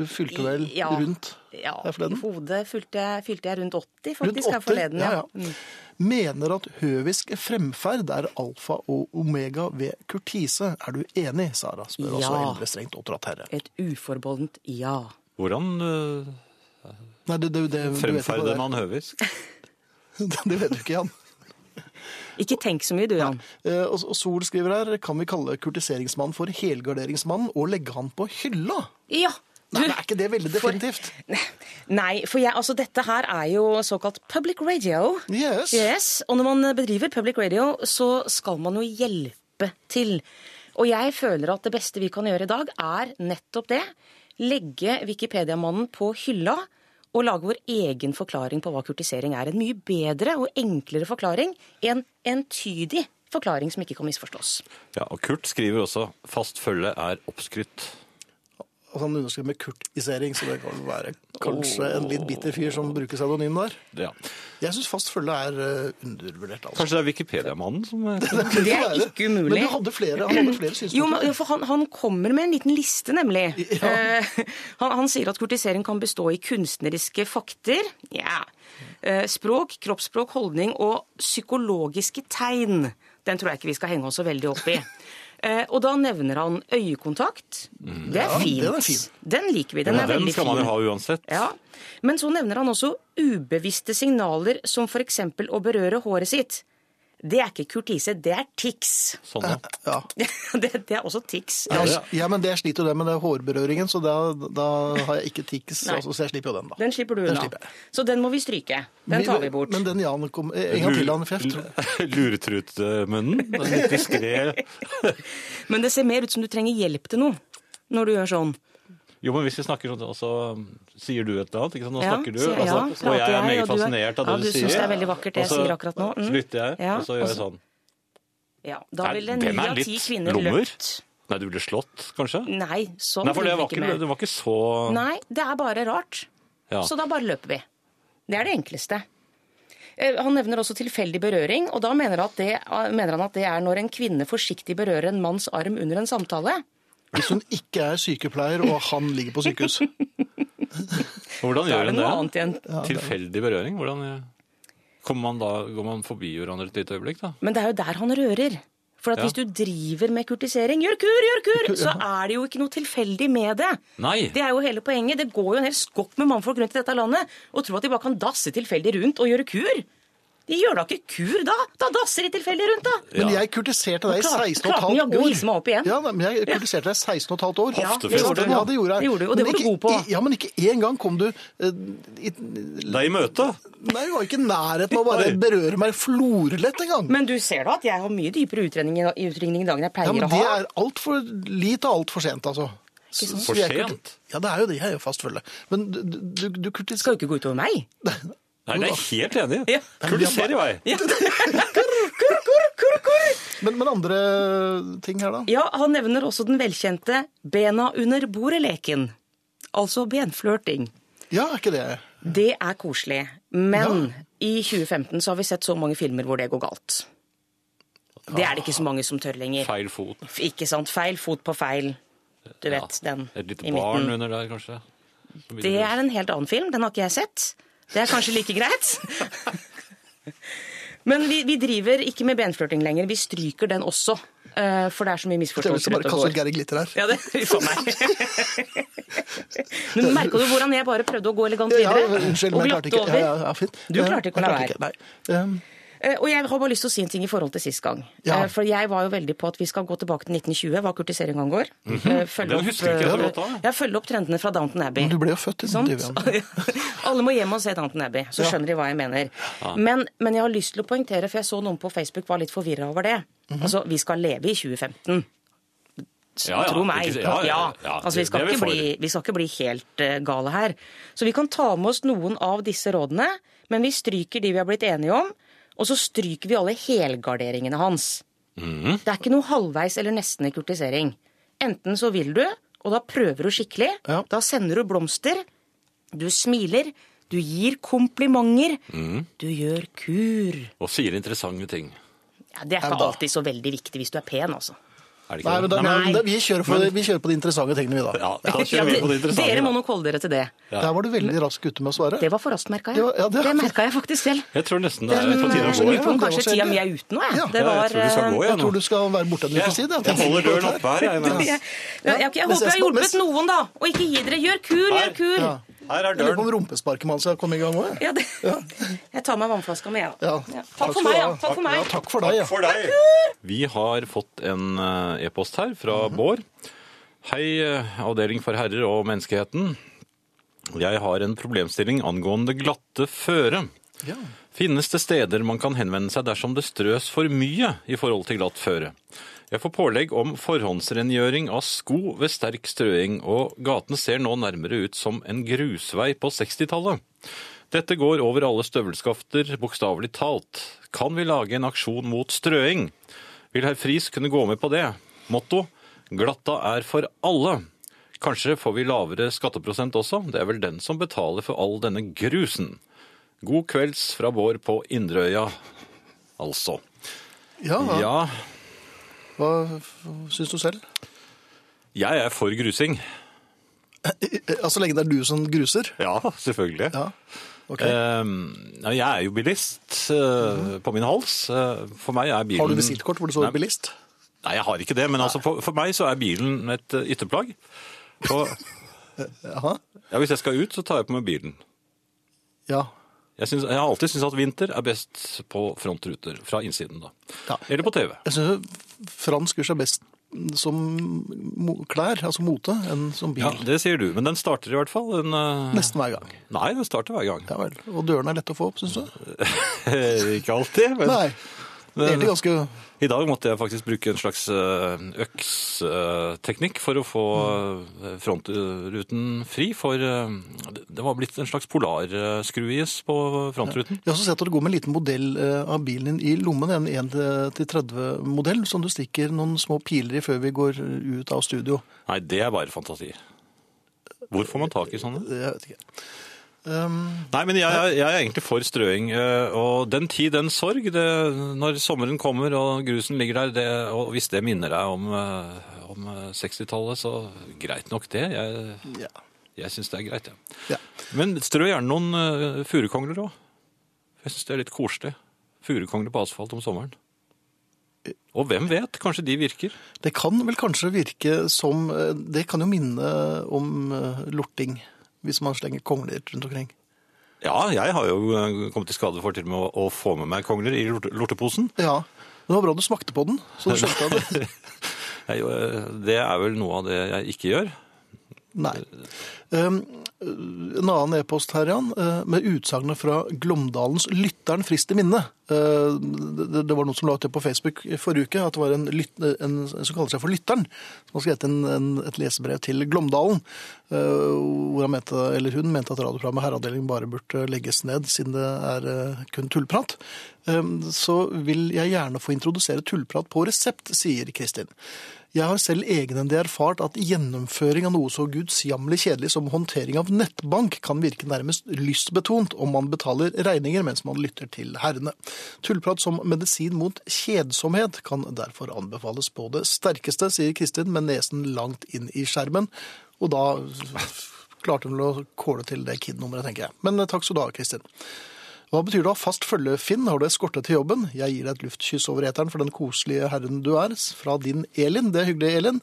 Speaker 1: Du fylte vel
Speaker 3: I- ja.
Speaker 1: rundt
Speaker 3: Ja,
Speaker 1: her
Speaker 3: i
Speaker 1: forleden?
Speaker 3: hodet fylte jeg, fylte jeg rundt 80,
Speaker 1: Rundt
Speaker 3: faktisk, her
Speaker 1: 80?
Speaker 3: forleden. Mm.
Speaker 1: Ja, ja. Mener at høvisk fremferd er alfa og omega ved kurtise. Er du enig, Sara? Spør også
Speaker 3: Ja.
Speaker 1: eldre strengt oppdratt herre.
Speaker 3: Et uforbeholdent ja.
Speaker 2: Hvordan øh,
Speaker 1: Nei, det, det, det, du vet ikke hva det
Speaker 2: fremferder
Speaker 1: er.
Speaker 2: man høvisk?
Speaker 1: Det vet du ikke, Jan.
Speaker 3: Ikke tenk så mye, du, Jan.
Speaker 1: Eh, Og og Sol skriver her kan vi kalle kurtiseringsmann for helgarderingsmann og legge han på hylla.
Speaker 3: Ja! Du.
Speaker 1: Nei, men Er ikke det veldig definitivt?
Speaker 3: Nei, for jeg, altså, dette her er jo såkalt public radio.
Speaker 1: Yes.
Speaker 3: Yes, Og når man bedriver public radio, så skal man jo hjelpe til. Og jeg føler at det beste vi kan gjøre i dag, er nettopp det. Legge Wikipedia-mannen på hylla og lage vår egen forklaring på hva kurtisering er. En mye bedre og enklere forklaring. En entydig forklaring som ikke kan misforstås.
Speaker 2: Ja, og Kurt skriver også 'fast følge er oppskrytt'.
Speaker 1: Altså, han underskrev med kurtisering, så det kan vel være kanskje en litt bitter fyr som bruker pseudonym der.
Speaker 2: Ja.
Speaker 1: Jeg syns fast følge er eh, undervurdert, altså.
Speaker 2: Kanskje det er Wikipedia-mannen som eh, er
Speaker 3: Det
Speaker 1: kan
Speaker 3: er
Speaker 1: være.
Speaker 3: ikke umulig.
Speaker 1: Men du hadde flere, han hadde flere synspunkter.
Speaker 3: Jo, men, for han, han kommer med en liten liste, nemlig. Eh, han, han sier at kurtisering kan bestå i kunstneriske fakter. Ja. Eh, språk, kroppsspråk, holdning og psykologiske tegn. Den tror jeg ikke vi skal henge oss så veldig opp i. Eh, og da nevner han øyekontakt.
Speaker 2: Mm.
Speaker 3: Det er fint.
Speaker 1: den er fin.
Speaker 3: Den liker vi. Den er
Speaker 2: Den
Speaker 3: veldig
Speaker 2: skal man
Speaker 3: fin.
Speaker 2: jo ha uansett.
Speaker 3: Ja, Men så nevner han også ubevisste signaler, som f.eks. å berøre håret sitt. Det er ikke kurtise, det er tics.
Speaker 2: Sånn, ja.
Speaker 1: Ja.
Speaker 3: det, det er også tics.
Speaker 1: Ja, ja. men det jeg sliter jo det med det er hårberøringen, så da, da har jeg ikke tics,
Speaker 3: Nei.
Speaker 1: altså, så jeg slipper jo den, da.
Speaker 3: Den slipper du
Speaker 1: Den
Speaker 3: unna.
Speaker 1: slipper jeg.
Speaker 3: Så den må vi stryke. Den tar vi bort.
Speaker 1: Men den Jan kom eh, En gang til, han, for jeg tror
Speaker 2: Luretrutmunnen. Litt diskré.
Speaker 3: Men det ser mer ut som du trenger hjelp til noe når du gjør sånn.
Speaker 2: Jo, men hvis vi snakker sånn, og så sier du et eller annet, ikke sant? Nå
Speaker 3: Ja,
Speaker 2: snakker du,
Speaker 3: sier jeg, ja,
Speaker 2: altså, og
Speaker 3: prater
Speaker 2: jeg er
Speaker 3: jeg,
Speaker 2: meget
Speaker 3: og du er-
Speaker 2: fascinert av det
Speaker 3: ja, du
Speaker 2: sier.
Speaker 3: synes det er veldig vakkert det jeg
Speaker 2: Og så
Speaker 3: sier akkurat nå, mm.
Speaker 2: Slutter jeg,
Speaker 3: Ja,
Speaker 2: og så gjør
Speaker 3: og
Speaker 2: jeg
Speaker 3: så-
Speaker 2: sånn.
Speaker 3: Ja, da
Speaker 2: Nei,
Speaker 3: ville ni
Speaker 2: den er
Speaker 3: av ti
Speaker 2: litt
Speaker 3: kvinner
Speaker 2: lommer.
Speaker 3: løpt.
Speaker 2: Nei, du ble slått, kanskje?
Speaker 3: Nei, sånn
Speaker 2: Nei, for det
Speaker 3: driver vi
Speaker 2: var ikke,
Speaker 3: med.
Speaker 2: det var ikke så...
Speaker 3: Nei, det er bare rart.
Speaker 2: Ja.
Speaker 3: Så da bare løper vi. Det er det enkleste. Eh, Han nevner også tilfeldig berøring, og da mener, at det, eh, mener han at det er når en kvinne forsiktig berører en manns arm under en samtale.
Speaker 1: Hvis hun ikke er sykepleier, og han ligger på sykehus.
Speaker 2: Hvordan
Speaker 3: Da
Speaker 2: gjør
Speaker 3: er det
Speaker 2: en
Speaker 3: noe
Speaker 2: det?
Speaker 3: annet igjen.
Speaker 2: Tilfeldig berøring? Hvordan eh, kommer man da, går man forbi hverandre et lite øyeblikk da?
Speaker 3: Men det er jo der han rører. For at
Speaker 2: Ja.
Speaker 3: hvis du driver med kurtisering, gjør kur, gjør kur, så er det jo ikke noe tilfeldig med det.
Speaker 2: Nei.
Speaker 3: Det er jo hele poenget. Det går jo en hel skokk med mannfolk rundt i dette landet og tror at de bare kan dasse tilfeldig rundt og gjøre kur. De gjør da ikke kur da. Da dasser de tilfeldig rundt, da.
Speaker 1: Men
Speaker 2: Ja.
Speaker 1: jeg kurtiserte deg i
Speaker 3: Klart-
Speaker 1: 16
Speaker 3: klart
Speaker 1: 15
Speaker 3: den jaggu
Speaker 1: år.
Speaker 3: hisse meg opp igjen.
Speaker 1: Ja, nei, men jeg kurtiserte deg i 16 15 år.
Speaker 3: Ja,
Speaker 1: Ikke
Speaker 2: det
Speaker 1: sant?
Speaker 2: gjorde du.
Speaker 1: Ja, det gjorde jeg.
Speaker 3: Det gjorde du, og det
Speaker 1: Men
Speaker 3: var du
Speaker 1: ikke-
Speaker 3: god på.
Speaker 1: Ja, men ikke én gang kom du eh, i,
Speaker 2: Deg i møte?
Speaker 1: Nei, du var ikke i nærheten av å bare
Speaker 2: Oi.
Speaker 1: berøre meg florlett engang.
Speaker 3: Men du ser da at jeg har mye dypere utredning i utringning i dag enn jeg
Speaker 1: Ja,
Speaker 3: pleier
Speaker 1: men
Speaker 3: å
Speaker 1: det
Speaker 3: ha.
Speaker 1: er altfor lite og altfor sent, altså. Så-
Speaker 2: For
Speaker 1: så jeg-
Speaker 2: sent?
Speaker 1: Ja, det er jo det. Jeg er jo fast følge. Men du, du, du
Speaker 3: Det
Speaker 1: kritiserer
Speaker 3: skal jo ikke gå utover meg.
Speaker 2: Nei, det er jeg helt enig i.
Speaker 3: Ja.
Speaker 2: Kurdiser i vei.
Speaker 3: Kur, kur, kur, kur.
Speaker 1: men, men andre ting her, da?
Speaker 3: Ja, han nevner også den velkjente bena under bordet-leken. Altså benflørting.
Speaker 1: Ja, er ikke det?
Speaker 3: Det er koselig, men i 2015 så har vi sett så mange filmer hvor det går galt. Det er det ikke så mange som tør lenger.
Speaker 2: Feil fot.
Speaker 3: Ikke sant? Feil fot på feil. Du vet,
Speaker 2: Ja.
Speaker 3: den
Speaker 2: Et lite
Speaker 3: i
Speaker 2: barn
Speaker 3: midten.
Speaker 2: under der, kanskje?
Speaker 3: Det er en helt annen film, den har ikke jeg sett. Det er kanskje like greit. Men vi, vi driver ikke med benflørting lenger, vi stryker den også. eh, For det er så
Speaker 1: Jeg
Speaker 3: mye
Speaker 1: vil
Speaker 3: misforståelser
Speaker 1: bare
Speaker 3: ute og
Speaker 1: kaste
Speaker 3: går.
Speaker 1: ut Geir Glitter her.
Speaker 3: Ja, det Uff a meg. Men merka du hvordan jeg bare prøvde å gå elegant
Speaker 1: Ja,
Speaker 3: videre?
Speaker 1: unnskyld,
Speaker 3: og
Speaker 1: men jeg klarte ikke.
Speaker 3: glatte over?
Speaker 1: Ja, ja, ja, fint.
Speaker 3: Du klarte ikke å la
Speaker 1: Jeg klarte ikke, Nei. Um,
Speaker 3: Eh, Og jeg har bare lyst til å si en ting i forhold til sist gang.
Speaker 1: Ja.
Speaker 3: Eh, For jeg var jo veldig på at vi skal gå tilbake til 1920, hva kurtisering angår. Mm
Speaker 2: Mhm. Den husker ikke jeg så godt da.
Speaker 3: Jeg følger eh, opp trendene fra Downton Abbey.
Speaker 1: Men du ble jo født i
Speaker 3: Sant?
Speaker 1: 1920.
Speaker 3: Alle må hjem og se Downton Abbey, så
Speaker 1: Ja.
Speaker 3: skjønner de hva jeg mener. Men, men jeg har lyst til å poengtere, for jeg så noen på Facebook var litt forvirra over det.
Speaker 1: Mhm.
Speaker 3: Altså, vi skal leve i 2015. Så
Speaker 2: Ja, ja,
Speaker 3: Tro meg.
Speaker 2: ikke-
Speaker 3: ja,
Speaker 2: ja, ja, ja,
Speaker 3: altså, vi,
Speaker 2: det-
Speaker 3: skal
Speaker 2: det er
Speaker 3: ikke
Speaker 2: vi for.
Speaker 3: bli, vi skal ikke bli helt eh, gale her. Så vi kan ta med oss noen av disse rådene, men vi stryker de vi har blitt enige om. Og så stryker vi alle helgarderingene hans.
Speaker 2: Mhm.
Speaker 3: Det er ikke noe halvveis eller nesten i kurtisering. Enten så vil du, og da prøver du skikkelig.
Speaker 1: Ja.
Speaker 3: Da sender du blomster. Du smiler. Du gir komplimenter.
Speaker 2: Mhm.
Speaker 3: Du gjør kur.
Speaker 2: Og sier interessante ting.
Speaker 3: Ja, det er
Speaker 1: Ja,
Speaker 3: ikke
Speaker 1: da.
Speaker 3: alltid så veldig viktig hvis du er pen, altså.
Speaker 2: Er det ikke
Speaker 1: Nei, men da,
Speaker 2: Nei,
Speaker 1: men da- vi, kjører på, vi kjører på de interessante tingene, vi da.
Speaker 2: Ja, da
Speaker 3: Ja,
Speaker 2: kjører vi på det
Speaker 3: de-
Speaker 2: interessante.
Speaker 3: dere
Speaker 2: da.
Speaker 3: må nok holde dere til det.
Speaker 1: Der var du veldig rask ute med å svare.
Speaker 3: Det var for raskt, merka jeg.
Speaker 1: Det var- ja, det-
Speaker 3: det merka jeg faktisk selv. eh,
Speaker 2: Jeg tror nesten det er på
Speaker 1: Det
Speaker 2: tide
Speaker 1: var
Speaker 2: å
Speaker 1: så mye
Speaker 2: gå. jeg.
Speaker 3: Jeg tror
Speaker 1: det var
Speaker 3: kanskje
Speaker 1: så
Speaker 3: tida mi
Speaker 1: heldig.
Speaker 3: er ute nå, jeg.
Speaker 1: Ja,
Speaker 3: det
Speaker 2: Ja,
Speaker 3: var,
Speaker 2: jeg tror du skal gå,
Speaker 1: Jeg
Speaker 2: jeg nå.
Speaker 1: tror du skal være borte en uke siden.
Speaker 2: Jeg holder døren opp her, jeg.
Speaker 3: eh,
Speaker 2: mens-
Speaker 3: jeg, jeg, jeg, jeg
Speaker 1: Men
Speaker 3: håper jeg
Speaker 1: ses
Speaker 3: har
Speaker 1: på-
Speaker 3: hjulpet
Speaker 1: men-
Speaker 3: noen, da. Og ikke gi dere. Gjør kur, gjør
Speaker 2: Nei.
Speaker 3: kur.
Speaker 1: Ja.
Speaker 2: Her er
Speaker 1: Jeg lurer på
Speaker 2: døren.
Speaker 1: om rumpesparket hans skal komme i gang òg.
Speaker 3: Ja, det. Jeg tar meg vannflaska med, jeg. da.
Speaker 1: Ja.
Speaker 3: Ja.
Speaker 1: Takk
Speaker 3: Takk
Speaker 1: skal
Speaker 3: for
Speaker 1: du
Speaker 3: meg,
Speaker 1: ha.
Speaker 3: ja. Takk for meg.
Speaker 1: Ja, takk for deg, ja.
Speaker 2: For deg. Vi har fått en eh, e-post her fra Bård. Hei, eh, avdeling for herrer og menneskeheten. Jeg har en problemstilling angående glatte føre.
Speaker 1: Ja.
Speaker 2: Finnes det steder man kan henvende seg dersom det strøs for mye i forhold til glatt føre? Jeg får pålegg om forhåndsrengjøring av sko ved sterk strøing, og gaten ser nå nærmere ut som en grusvei på 60-tallet. Dette går over alle støvelskafter, bokstavelig talt. Kan vi lage en aksjon mot strøing? Vil herr Friis kunne gå med på det? Motto glatta er for alle. Kanskje får vi lavere skatteprosent også, det er vel den som betaler for all denne grusen. God kvelds fra Bård på Indreøya, altså.
Speaker 1: Ja, hva-
Speaker 2: Ja,
Speaker 1: hva f- syns du selv?
Speaker 2: jeg er for grusing.
Speaker 1: Ja, Så Altså, lenge det er du som gruser?
Speaker 2: Ja, selvfølgelig.
Speaker 1: Ja. Ok.
Speaker 2: Ehm, ja, jeg er jo bilist eh, på min hals. Eh, For meg er bilen
Speaker 1: Har du visittkort hvor det står
Speaker 2: Nei.
Speaker 1: bilist?
Speaker 2: Nei, jeg har ikke det, men altså, for, for meg så er bilen et eh, ytterplagg. Og
Speaker 1: Jaha.
Speaker 2: ja, hvis jeg skal ut, så tar jeg på meg bilen.
Speaker 1: Ja.
Speaker 2: Jeg, syns- jeg har alltid syntes at vinter er best på frontruter, fra innsiden da.
Speaker 1: Ja.
Speaker 2: Eller på TV.
Speaker 1: Jeg syns fransk gjør seg best som mo- klær, altså mote, enn som bil.
Speaker 2: Ja, det sier du, men den starter i hvert fall. Den, eh,
Speaker 1: Nesten hver gang.
Speaker 2: Nei, den starter hver gang.
Speaker 1: Ja vel. Og dørene er lette å få opp, syns du?
Speaker 2: ikke alltid, men...
Speaker 1: Nei. Det er egentlig ganske
Speaker 2: I dag måtte jeg faktisk bruke en slags eh, øksteknikk for å få eh, frontruten fri, for eh, det det var blitt en slags polarskruis på frontruten.
Speaker 1: Jeg har også sett at det går med en liten modell eh, av bilen din i lommen, en 1-30-modell, som du stikker noen små piler i før vi går ut av studio.
Speaker 2: Nei, det er bare fantasi. Hvor får man tak i sånne?
Speaker 1: Jeg vet ikke. Um,
Speaker 2: Nei, men jeg, jeg er egentlig for strøing. eh, Og den tid, den sorg. Det, når sommeren kommer og grusen ligger der, det, og hvis det minner deg om, eh, om eh, 60-tallet, så greit nok det. Jeg,
Speaker 1: ja.
Speaker 2: jeg syns det er greit, jeg. Ja.
Speaker 1: ja.
Speaker 2: Men strø gjerne noen eh, furukongler òg. Jeg syns det er litt koselig. Furukongler på asfalt om sommeren. Og hvem vet, kanskje de virker?
Speaker 1: Det kan vel kanskje virke som eh, Det kan jo minne om eh, lorting, hvis man slenger kongler rundt omkring.
Speaker 2: Ja, jeg har jo eh, kommet i skade for til og med å, å få med meg kongler i lorte- lorteposen.
Speaker 1: Ja. Det var bra du smakte på den, så du skjønte at det.
Speaker 2: Jeg, eh, det er vel noe av det jeg ikke gjør.
Speaker 1: Nei. Um, en annen e-post her, Jan, eh, med utsagnet fra Glåmdalens Lytteren frist i minne. Eh, Det det var noen som la ut det på Facebook i forrige uke, at det var en, lyt, en som kaller seg for Lytteren, som har skrevet en, en, et lesebrev til Glåmdalen, eh, hvor han mente, eller hun mente at radioprogrammet Herreavdelingen bare burde legges ned, siden det er eh, kun tullprat. Eh, Så vil jeg gjerne få introdusere tullprat på resept, sier Kristin. Jeg har selv egenhendig erfart at gjennomføring av noe så gudsjammelig kjedelig som håndtering av nettbank kan virke nærmest lystbetont om man betaler regninger mens man lytter til herrene. Tullprat som medisin mot kjedsomhet kan derfor anbefales på det sterkeste, sier Kristin med nesen langt inn i skjermen. Og da klarte hun vel å kåle til det KID-nummeret, tenker jeg. Men eh, takk skal du ha, Kristin. Hva betyr det å ha fast følge, Finn? Har du eskorte til jobben? Jeg gir deg et luftkyss over eteren for den koselige herren du er. Fra din Elin. Det er hyggelig, Elin.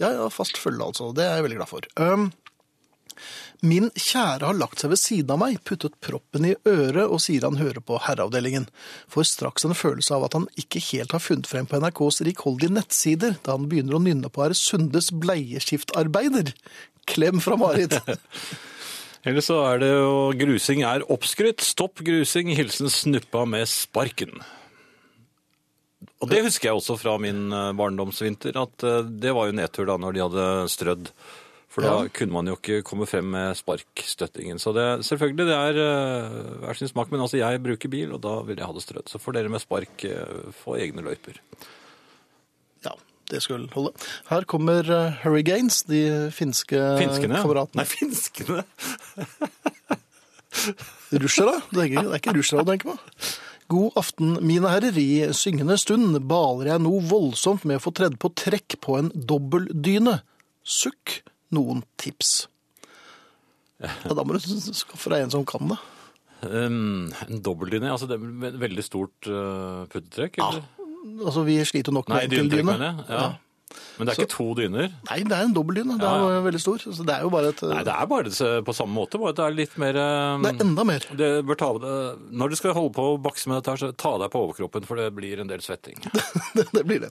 Speaker 1: Ja, ja, fast følge, altså. Det er jeg veldig glad for. Um, Min kjære har lagt seg ved siden av meg, puttet proppen i øret og sier han hører på Herreavdelingen. Får straks en følelse av at han ikke helt har funnet frem på NRKs rikholdige nettsider, da han begynner å nynne på Herre Sundes bleieskiftarbeider. Klem fra Marit.
Speaker 2: Ellers så er det jo grusing er oppskrytt. Stopp grusing, hilsen snuppa med sparken. Og det husker jeg også fra min eh, barndomsvinter, at eh, det var jo nedtur da når de hadde strødd. For da
Speaker 1: Ja.
Speaker 2: kunne man jo ikke komme frem med sparkstøttingen. Så det, selvfølgelig, det er eh, hver sin smak. Men altså, jeg bruker bil, og da vil jeg ha det strødd. Så får dere med spark eh, få egne løyper.
Speaker 1: Ja, det skulle holde. Her kommer eh, Hurricanes, de finske
Speaker 2: Finskene?
Speaker 1: kameratene.
Speaker 2: Nei, finskene!
Speaker 1: Russere? Det er ikke, det er ikke russere du tenker på. God aften, mine herrer. I syngende stund baler jeg noe voldsomt med å få tredd på trekk på en dobbeldyne. Sukk. Noen tips. Ja, da må du skaffe deg en som kan det.
Speaker 2: Um, en dobbeltdyne, altså det er ve- veldig stort eh, puttetrekk? eller?
Speaker 1: Altså, vi sliter jo nok
Speaker 2: Nei,
Speaker 1: med
Speaker 2: dynetrekk,
Speaker 1: enkeldyne.
Speaker 2: mener jeg. Ja. Men det er ikke to dyner?
Speaker 1: Nei, det er en dobbeldyne. Det er jo veldig stor. Så det er jo bare et
Speaker 2: Nei, det er bare det- på samme måte, bare at det er litt mer um,
Speaker 1: det er enda mer.
Speaker 2: det bør ta, det- Når du skal holde på å bakse med dette, her, så ta deg på overkroppen, for det blir en del svetting.
Speaker 1: det, det blir det.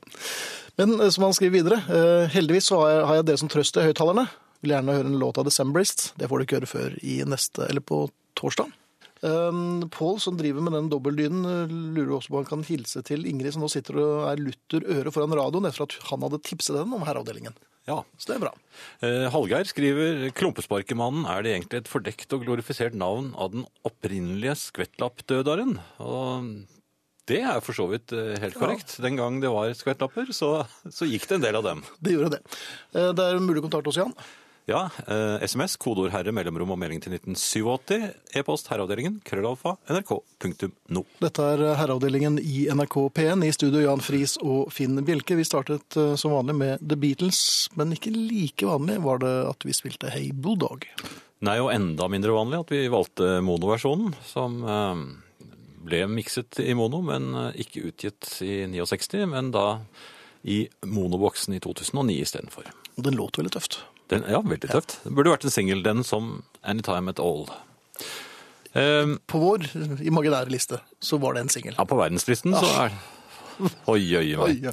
Speaker 1: Men eh, som han skriver videre, eh, heldigvis så har jeg, har jeg dere som trøst i høyttalerne. Vil gjerne høre en låt av Decemberists. Det får du ikke høre før i neste, eller på torsdag. Um, Pål, som driver med den dobbeldynen, eh, lurer også på om han kan hilse til Ingrid, som nå sitter og er lutter øre foran radioen etter at han hadde tipset den om herreavdelingen.
Speaker 2: Ja.
Speaker 1: Så det er bra.
Speaker 2: Eh, Hallgeir skriver Klumpesparkemannen er det egentlig et fordekt og glorifisert navn av den opprinnelige skvettlappdødaren. Og det er for så vidt eh, helt korrekt. Den gang det var skvettlapper, så, så gikk det en del av dem.
Speaker 1: Det gjorde det. Eh, Det er mulig kontakt hos Jan.
Speaker 2: Ja, eh, SMS, kodeord herre, mellomrom og melding til 1987, e-post herreavdelingen, krøllalfa, nrk.no.
Speaker 1: Dette er herreavdelingen i NRK P1 i studio Jan Friis og Finn Bjelke. Vi startet eh, som vanlig med The Beatles, men ikke like vanlig var det at vi spilte Hey Bulldog.
Speaker 2: Nei, og enda mindre vanlig at vi valgte monoversjonen, som eh, ble mikset i mono, men eh, ikke utgitt i 69, men da i monoboksen i 2009 istedenfor.
Speaker 1: Og den låt veldig tøft.
Speaker 2: Den, ja, veldig tøft. Det burde vært en singel, den som Anytime At All. Eh,
Speaker 1: På vår eh, imaginære liste så var det en singel.
Speaker 2: ja, på verdenslisten så er Oi, oi, Ah. oi.
Speaker 1: Oi, ja.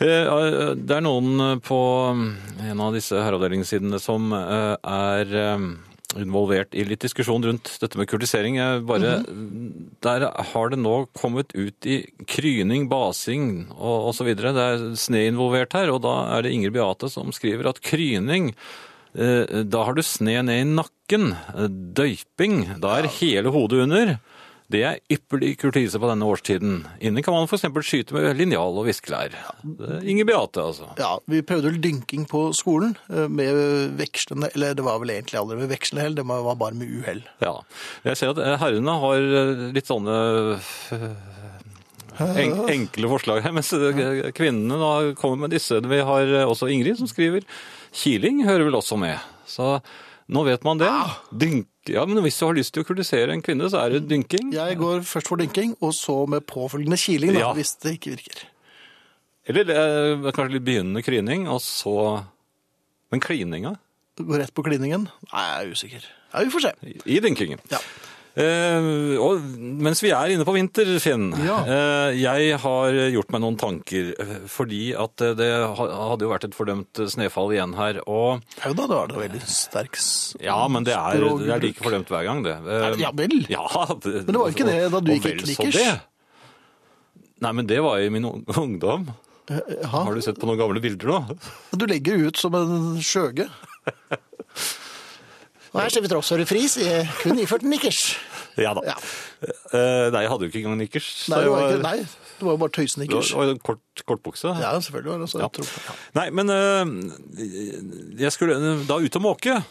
Speaker 2: Eh, eh, Det er noen på eh, en av disse herreavdelingssidene som eh, er eh, involvert i litt diskusjon rundt dette med kurtisering. Jeg Bare, Der har det nå kommet ut i kryning, basing og osv. Det er sne involvert her, og da er det Inger Beate som skriver at kryning eh, da har du sne ned i nakken. Eh, Døyping. Da er hele hodet under. Det er ypperlig kurtise på denne årstiden. Inne kan man f.eks. skyte med linjal og viskelær. Det er Inger Beate, altså.
Speaker 1: Ja, vi prøvde vel dynking på skolen eh, med vekslende Eller det var vel egentlig aldri med vekslende hell, det var bare med uhell.
Speaker 2: Ja. Jeg ser at eh, herrene har eh, litt sånne eh, en, enkle forslag her, mens eh, kvinnene da kommer med disse. Vi har eh, også Ingrid som skriver. Kiling hører vel også med. Så nå vet man det. Dynk, ja, men hvis du har lyst til å kritisere en kvinne, så er det dynking.
Speaker 1: Jeg går først for dynking, og så med påfølgende kiling, da,
Speaker 2: Ja.
Speaker 1: hvis det ikke virker.
Speaker 2: Eller eh, kanskje litt begynnende kryning, og så Men klininga
Speaker 1: Går rett på kliningen? Nei, jeg er usikker. Ja, vi får se.
Speaker 2: i dynkingen.
Speaker 1: Ja.
Speaker 2: Eh, og mens vi er inne på vinter, Finn.
Speaker 1: Ja.
Speaker 2: eh, jeg har gjort meg noen tanker. eh, Fordi at eh, det ha- hadde jo vært et fordømt snøfall igjen her. Og
Speaker 1: Jau da, det var det veldig sterk s-
Speaker 2: ja, men det er,
Speaker 1: språkbruk.
Speaker 2: det er like fordømt hver gang, det. Eh,
Speaker 1: Ja vel.
Speaker 2: Ja,
Speaker 1: Men det var ikke det da du gikk i knickers?
Speaker 2: Nei, men det var i min ung- ungdom.
Speaker 1: Eh, Jaha.
Speaker 2: Har du sett på noen gamle bilder nå?
Speaker 1: Du legger ut som en skjøge. Og her ser vi Troppsåre Friis, i- kun iført nikkers.
Speaker 2: Ja da.
Speaker 1: Ja.
Speaker 2: Eh, nei, jeg hadde jo ikke engang knickers.
Speaker 1: Nei,
Speaker 2: så
Speaker 1: det var,
Speaker 2: jeg
Speaker 1: ikke, nei, det var jo bare tøysnikkers.
Speaker 2: Det var- det var kort, kortbukse.
Speaker 1: Ja, selvfølgelig var det så.
Speaker 2: Ja.
Speaker 1: jeg tror-
Speaker 2: Nei, men eh, jeg skulle da ut og måke.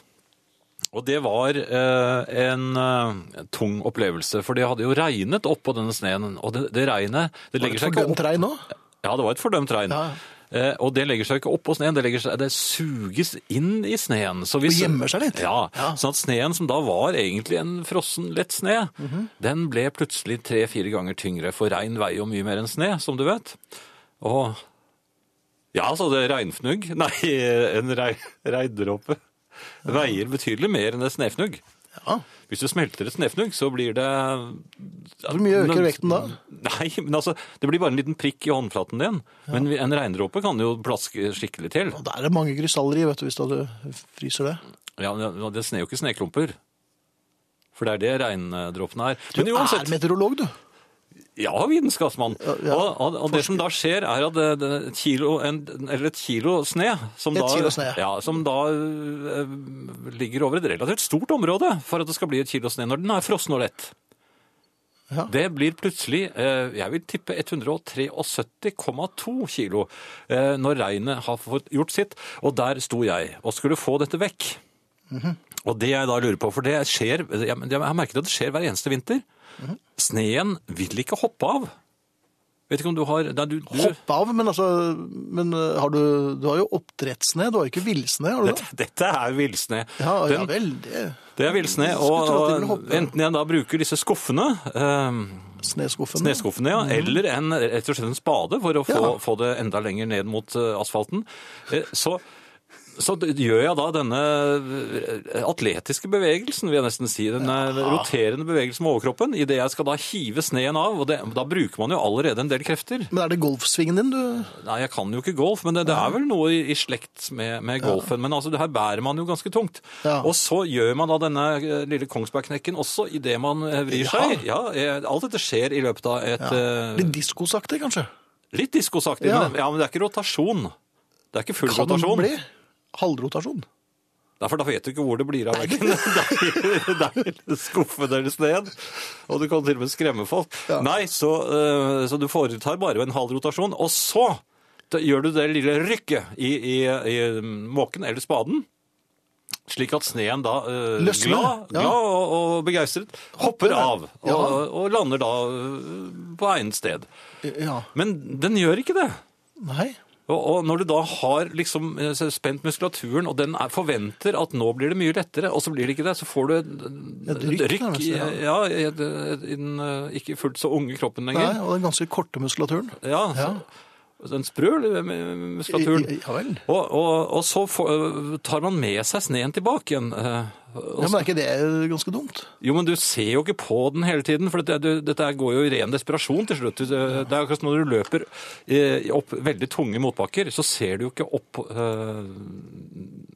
Speaker 2: Og det var eh, en eh, tung opplevelse, for det hadde jo regnet oppå denne sneen. Og det, det regnet det
Speaker 1: Var
Speaker 2: legger
Speaker 1: det
Speaker 2: seg ikke
Speaker 1: fordømt
Speaker 2: opp.
Speaker 1: regn nå?
Speaker 2: Ja, det var et fordømt regn.
Speaker 1: Ja.
Speaker 2: Eh, og det legger seg ikke oppå sneen, det, legger seg, det suges inn i sneen. Så hvis,
Speaker 1: Og gjemmer seg litt.
Speaker 2: Ja,
Speaker 1: Ja.
Speaker 2: sånn at sneen som da var egentlig en frossen lett sne,
Speaker 1: Mhm.
Speaker 2: den ble plutselig tre-fire ganger tyngre, for regn veier jo mye mer enn sne, som du vet. altså, Og ja, så det er regnfnugg. Nei, en rei- regndråpe. veier betydelig mer enn et snefnugg.
Speaker 1: Ja.
Speaker 2: Hvis du smelter et snefnugg, så blir det Hvor
Speaker 1: mye øker vekten da?
Speaker 2: Nei, men altså, Det blir bare en liten prikk i håndflaten din. Men en regndråpe kan jo plaske skikkelig til.
Speaker 1: Og der er det mange krystaller i, vet du, hvis du fryser det.
Speaker 2: Ja, men Det sner jo ikke sneklumper. For det er det regndråpene er.
Speaker 1: Du er meteorolog, du.
Speaker 2: Ja, vitenskapsmann.
Speaker 1: ja.
Speaker 2: Og, og, og det som da skjer, er at det- det- et kilo, en, eller et kilo sne som
Speaker 1: Et
Speaker 2: da,
Speaker 1: kilo sne, ja.
Speaker 2: ja. som da eh, ligger over et relativt stort område for at det skal bli et kilo sne når den er frossen og lett.
Speaker 1: Ja.
Speaker 2: Det blir plutselig, eh, jeg vil tippe 173,2 kilo eh, når regnet har fått gjort sitt. Og der sto jeg og skulle få dette vekk. Og det jeg da lurer på, for det skjer, jeg, jeg har merket at det skjer hver eneste vinter. Sneen vil ikke hoppe av. Vet ikke om du har nei, du, du,
Speaker 1: Hoppe av, men altså men eh, har du, du har jo oppdrettsned, du har jo ikke villsned, har du det?
Speaker 2: dette, dette er villsne.
Speaker 1: Ja, ja
Speaker 2: Den-
Speaker 1: vel, det
Speaker 2: det er villsne.
Speaker 1: Skulle tro at de
Speaker 2: Og,
Speaker 1: ville
Speaker 2: og
Speaker 1: hoppe.
Speaker 2: enten jeg da bruker disse skuffene eh,
Speaker 1: Sneskuffen.
Speaker 2: Sneskuffene, ja. Eller en, rett og slett en spade for å få,
Speaker 1: Mm. Ja.
Speaker 2: få det enda lenger ned mot eh, asfalten. Eh, Så, så d- gjør jeg da denne eh, atletiske bevegelsen, vil jeg nesten si. Den eh, roterende bevegelsen med overkroppen. I det jeg skal da hive sneen av. Og det, da bruker man jo allerede en del krefter.
Speaker 1: Men er det golfsvingen din du
Speaker 2: Nei, jeg kan jo ikke golf, men det, det er vel noe i, i slekt med, med golfen. Men altså, det her bærer man jo ganske tungt.
Speaker 1: Ja.
Speaker 2: Og så gjør man da denne eh, lille Kongsbergknekken også i det man eh, vrir seg. Ja, eh, alt dette skjer i løpet av et eh,
Speaker 1: Litt diskosaktig, kanskje?
Speaker 2: Litt diskosaktig,
Speaker 1: Ja.
Speaker 2: men, det- ja, men det er ikke rotasjon. Det er ikke full
Speaker 1: Kan den
Speaker 2: rotasjon.
Speaker 1: bli halvrotasjon?
Speaker 2: Derfor da vet du ikke hvor det blir av verken deg eller skuffen eller sted. Og du kan til og med skremme folk. Nei, så, eh, så du foretar bare en halv rotasjon. Og så da gjør du det lille rykket i, i, i mm, måken eller spaden. Slik at sneen da, eh,
Speaker 1: Løsner,
Speaker 2: glad,
Speaker 1: ja.
Speaker 2: glad og, og begeistret, hopper av og,
Speaker 1: Ja.
Speaker 2: og lander da eh, på egnet sted.
Speaker 1: Ja.
Speaker 2: Men den gjør ikke det.
Speaker 1: Nei.
Speaker 2: Og, og når du da har liksom eh, spent muskulaturen, og den er, forventer at nå blir det mye lettere, og så blir det ikke det, så får du et,
Speaker 1: Et rykk, nærmest,
Speaker 2: i,
Speaker 1: ja.
Speaker 2: ja, i, i den eh, ikke fullt så unge kroppen
Speaker 1: Nei,
Speaker 2: lenger.
Speaker 1: og den ganske korte muskulaturen.
Speaker 2: Ja, så- Den sprø eh, muskulaturen.
Speaker 1: I- i- Ja vel.
Speaker 2: Og, og, og så får- eh, tar man med seg sneen tilbake igjen. eh, og
Speaker 1: Ja, men er ikke det ganske dumt?
Speaker 2: jo, men du ser jo ikke på den hele tiden, for dette, du, dette her går jo i ren desperasjon til slutt. Du- Det er akkurat som når du løper eh, opp veldig tunge motbakker, så ser du jo ikke opp eh,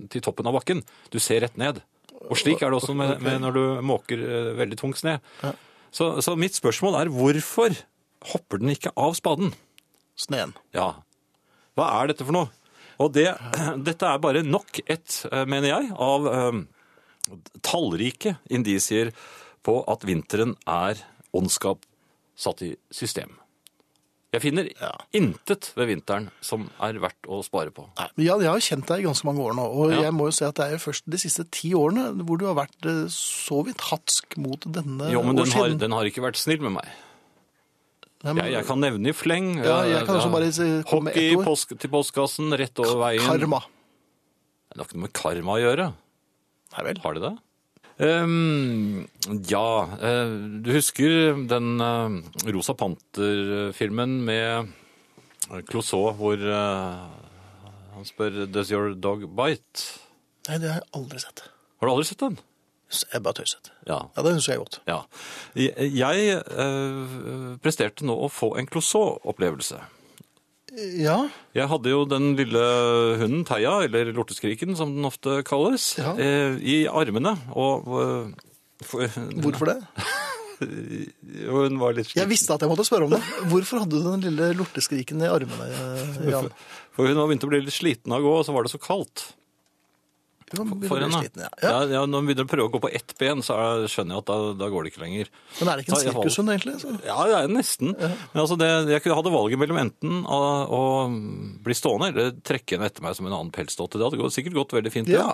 Speaker 2: til toppen av bakken. Du ser rett ned. Og slik er det også med, med når du måker eh, veldig tung sne. Så, så mitt spørsmål er hvorfor hopper den ikke av spaden?
Speaker 1: Sneen.
Speaker 2: Ja. Hva er dette for noe? Og det, dette er bare nok et, eh, mener jeg, av eh, tallrike indisier på at vinteren er ondskap satt i system. Jeg finner intet ved vinteren som er verdt å spare på.
Speaker 1: Nei, men jeg, jeg har kjent deg i ganske mange år nå, og
Speaker 2: Ja.
Speaker 1: jeg må jo si at det er jo først de siste ti årene hvor du har vært eh, så vidt hatsk mot denne
Speaker 2: Jo, men den har,
Speaker 1: årssiden.
Speaker 2: den har ikke vært snill med meg.
Speaker 1: Nei, men
Speaker 2: Jeg, jeg kan nevne i fleng.
Speaker 1: Ja, jeg kan
Speaker 2: eh,
Speaker 1: også bare si- komme med
Speaker 2: Hockey
Speaker 1: ett ord.
Speaker 2: posk, til postkassen, rett over veien.
Speaker 1: Karma.
Speaker 2: Det har ikke noe med karma å gjøre.
Speaker 1: Nei vel.
Speaker 2: Har de det? Ehm, ja, eh, du husker den eh, Rosa Panter-filmen med Clouseau hvor eh, han spør 'Does your dog bite?'
Speaker 1: Nei, det har jeg aldri sett.
Speaker 2: Har du aldri sett den?
Speaker 1: Så Jeg bare tøyset.
Speaker 2: Ja.
Speaker 1: Ja, det husker jeg godt.
Speaker 2: ja. Jeg jeg, eh, presterte nå å få en Clouseau-opplevelse.
Speaker 1: Ja,
Speaker 2: Jeg hadde jo den lille hunden Theia, eller lorteskriken som den ofte kalles,
Speaker 1: Ja.
Speaker 2: eh, i armene. Og, eh, for,
Speaker 1: hvorfor det?
Speaker 2: Jo, hun var litt
Speaker 1: Jeg
Speaker 2: sliten.
Speaker 1: visste at jeg måtte spørre om det. Hvorfor hadde du den lille lorteskriken i armene, eh, Jan?
Speaker 2: For hun var begynt å bli litt sliten av å gå, og så var det så kaldt
Speaker 1: Du kan begynne å
Speaker 2: for
Speaker 1: bli
Speaker 2: henne.
Speaker 1: sliten, ja.
Speaker 2: Ja.
Speaker 1: Ja.
Speaker 2: Ja, når hun begynner å prøve å gå på ett ben, så er, skjønner jeg at da, da går det ikke lenger.
Speaker 1: Men er det ikke en
Speaker 2: Så jeg valg-
Speaker 1: sirkushund, egentlig? Så?
Speaker 2: Ja, det er nesten. Men altså det, jeg kunne- hadde valget mellom enten å, å bli stående eller trekke henne etter meg som en annen pelsdotte. Det hadde gått, sikkert gått veldig fint. det.
Speaker 1: Ja.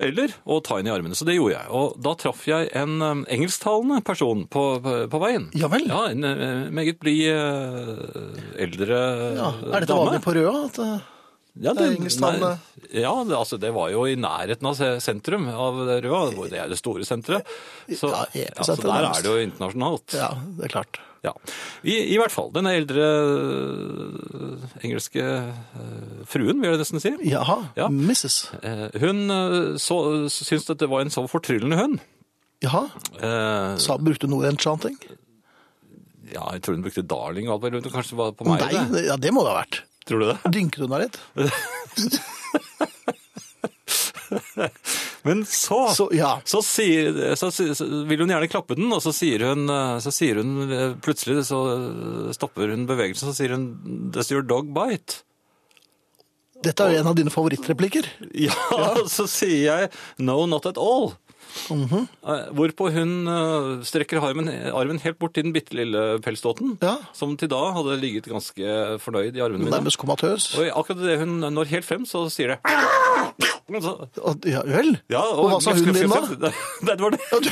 Speaker 2: Eller å ta henne i armene. Så det gjorde jeg. Og da traff jeg en eh, engelsktalende person på, på, på veien.
Speaker 1: Ja vel.
Speaker 2: Ja, en eh, meget blid eh, eldre
Speaker 1: Ja.
Speaker 2: Eh, dame.
Speaker 1: Er dette vanlig på Røa? At, eh,
Speaker 2: Ja,
Speaker 1: Det er engelsktalende.
Speaker 2: nei, Ja, det, altså, det var jo i nærheten av se- sentrum av Røa. hvor Det er det store senteret. Så,
Speaker 1: Ja,
Speaker 2: ja, så altså,
Speaker 1: episenteret
Speaker 2: der
Speaker 1: nærmest.
Speaker 2: er det jo internasjonalt.
Speaker 1: ja, det er klart.
Speaker 2: Ja. I, I hvert fall. Denne eldre eh, engelske eh, fruen, vil jeg nesten si.
Speaker 1: Jaha,
Speaker 2: Ja.
Speaker 1: Mrs.
Speaker 2: Eh, Hun eh, så, syntes dette var en så fortryllende hund.
Speaker 1: Jaha,
Speaker 2: Eh,
Speaker 1: Sa, brukte hun noe enchanting?
Speaker 2: ja, jeg tror hun brukte darling og alt mulig. Kanskje det var på meg?
Speaker 1: Nei,
Speaker 2: det.
Speaker 1: det- ja, det må det ha vært.
Speaker 2: Tror du det?
Speaker 1: Dynket hun deg litt?
Speaker 2: Men så, så,
Speaker 1: Så, ja.
Speaker 2: sier, så, si- så vil hun gjerne klappe den, og så sier hun, eh, så sier hun eh, plutselig så eh, stopper hun bevegelsen, så sier hun 'does your dog bite'?
Speaker 1: Dette er jo en av dine favorittreplikker.
Speaker 2: Ja, så sier jeg 'no, not at all'.
Speaker 1: Mhm.
Speaker 2: Eh, Hvorpå hun eh, strekker armen, armen helt bort til den bitte lille pelsdåten,
Speaker 1: Ja.
Speaker 2: som til da hadde ligget ganske fornøyd i armene mine.
Speaker 1: Nærmest komatøs.
Speaker 2: Og akkurat idet hun når helt frem, så sier det Men så-
Speaker 1: Og- Ja vel?
Speaker 2: ja,
Speaker 1: og, hva sa hunden din da?
Speaker 2: Nei, det var det.
Speaker 1: Ja, du,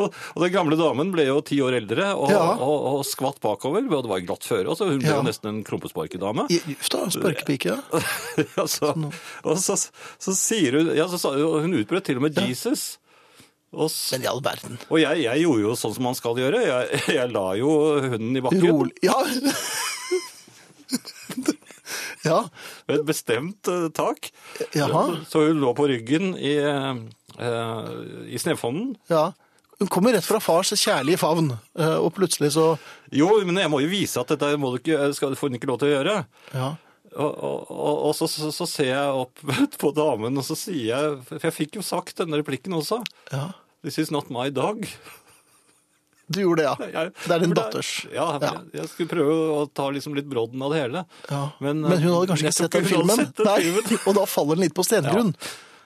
Speaker 2: Og og den gamle damen ble jo ti år eldre og,
Speaker 1: Ja.
Speaker 2: og, og skvatt bakover. Og det var glatt føre også. Hun ble
Speaker 1: Ja.
Speaker 2: jo nesten en klumpesparkedame.
Speaker 1: Uff da, sparkepike. ja.
Speaker 2: Ja, så,
Speaker 1: Sånn.
Speaker 2: og så, så sier hun ja, så, sa hun- og Hun utbrøt til og med 'Jesus'. Og, s-
Speaker 1: Men i all verden.
Speaker 2: og jeg, jeg gjorde jo sånn som man skal gjøre. Jeg, jeg la jo hunden i bakken
Speaker 1: Rolig Ja. ja.
Speaker 2: ved et bestemt eh, tak.
Speaker 1: Jaha.
Speaker 2: Så, så hun lå på ryggen i, eh, i snøfonnen.
Speaker 1: ja. Hun kommer rett fra fars kjærlige favn, eh, og plutselig så
Speaker 2: Jo, men jeg må jo vise at dette må du ikke, skal, får hun ikke lov til å gjøre.
Speaker 1: Ja.
Speaker 2: Og, og, og, og så, så, så ser jeg opp på damen, og så sier jeg For jeg fikk jo sagt denne replikken også.
Speaker 1: ja.
Speaker 2: This is not my dog.
Speaker 1: Du gjorde det, ja.
Speaker 2: Jeg-
Speaker 1: Det er din
Speaker 2: for
Speaker 1: datters.
Speaker 2: Ja, Jeg, jeg skulle prøve å ta liksom litt brodden av det hele.
Speaker 1: Ja.
Speaker 2: Men,
Speaker 1: Men, eh, hun hadde kanskje
Speaker 2: jeg
Speaker 1: ikke
Speaker 2: tror
Speaker 1: sett den
Speaker 2: hun hadde
Speaker 1: filmen.
Speaker 2: sett den
Speaker 1: Nei, og da faller den litt på stengrunn.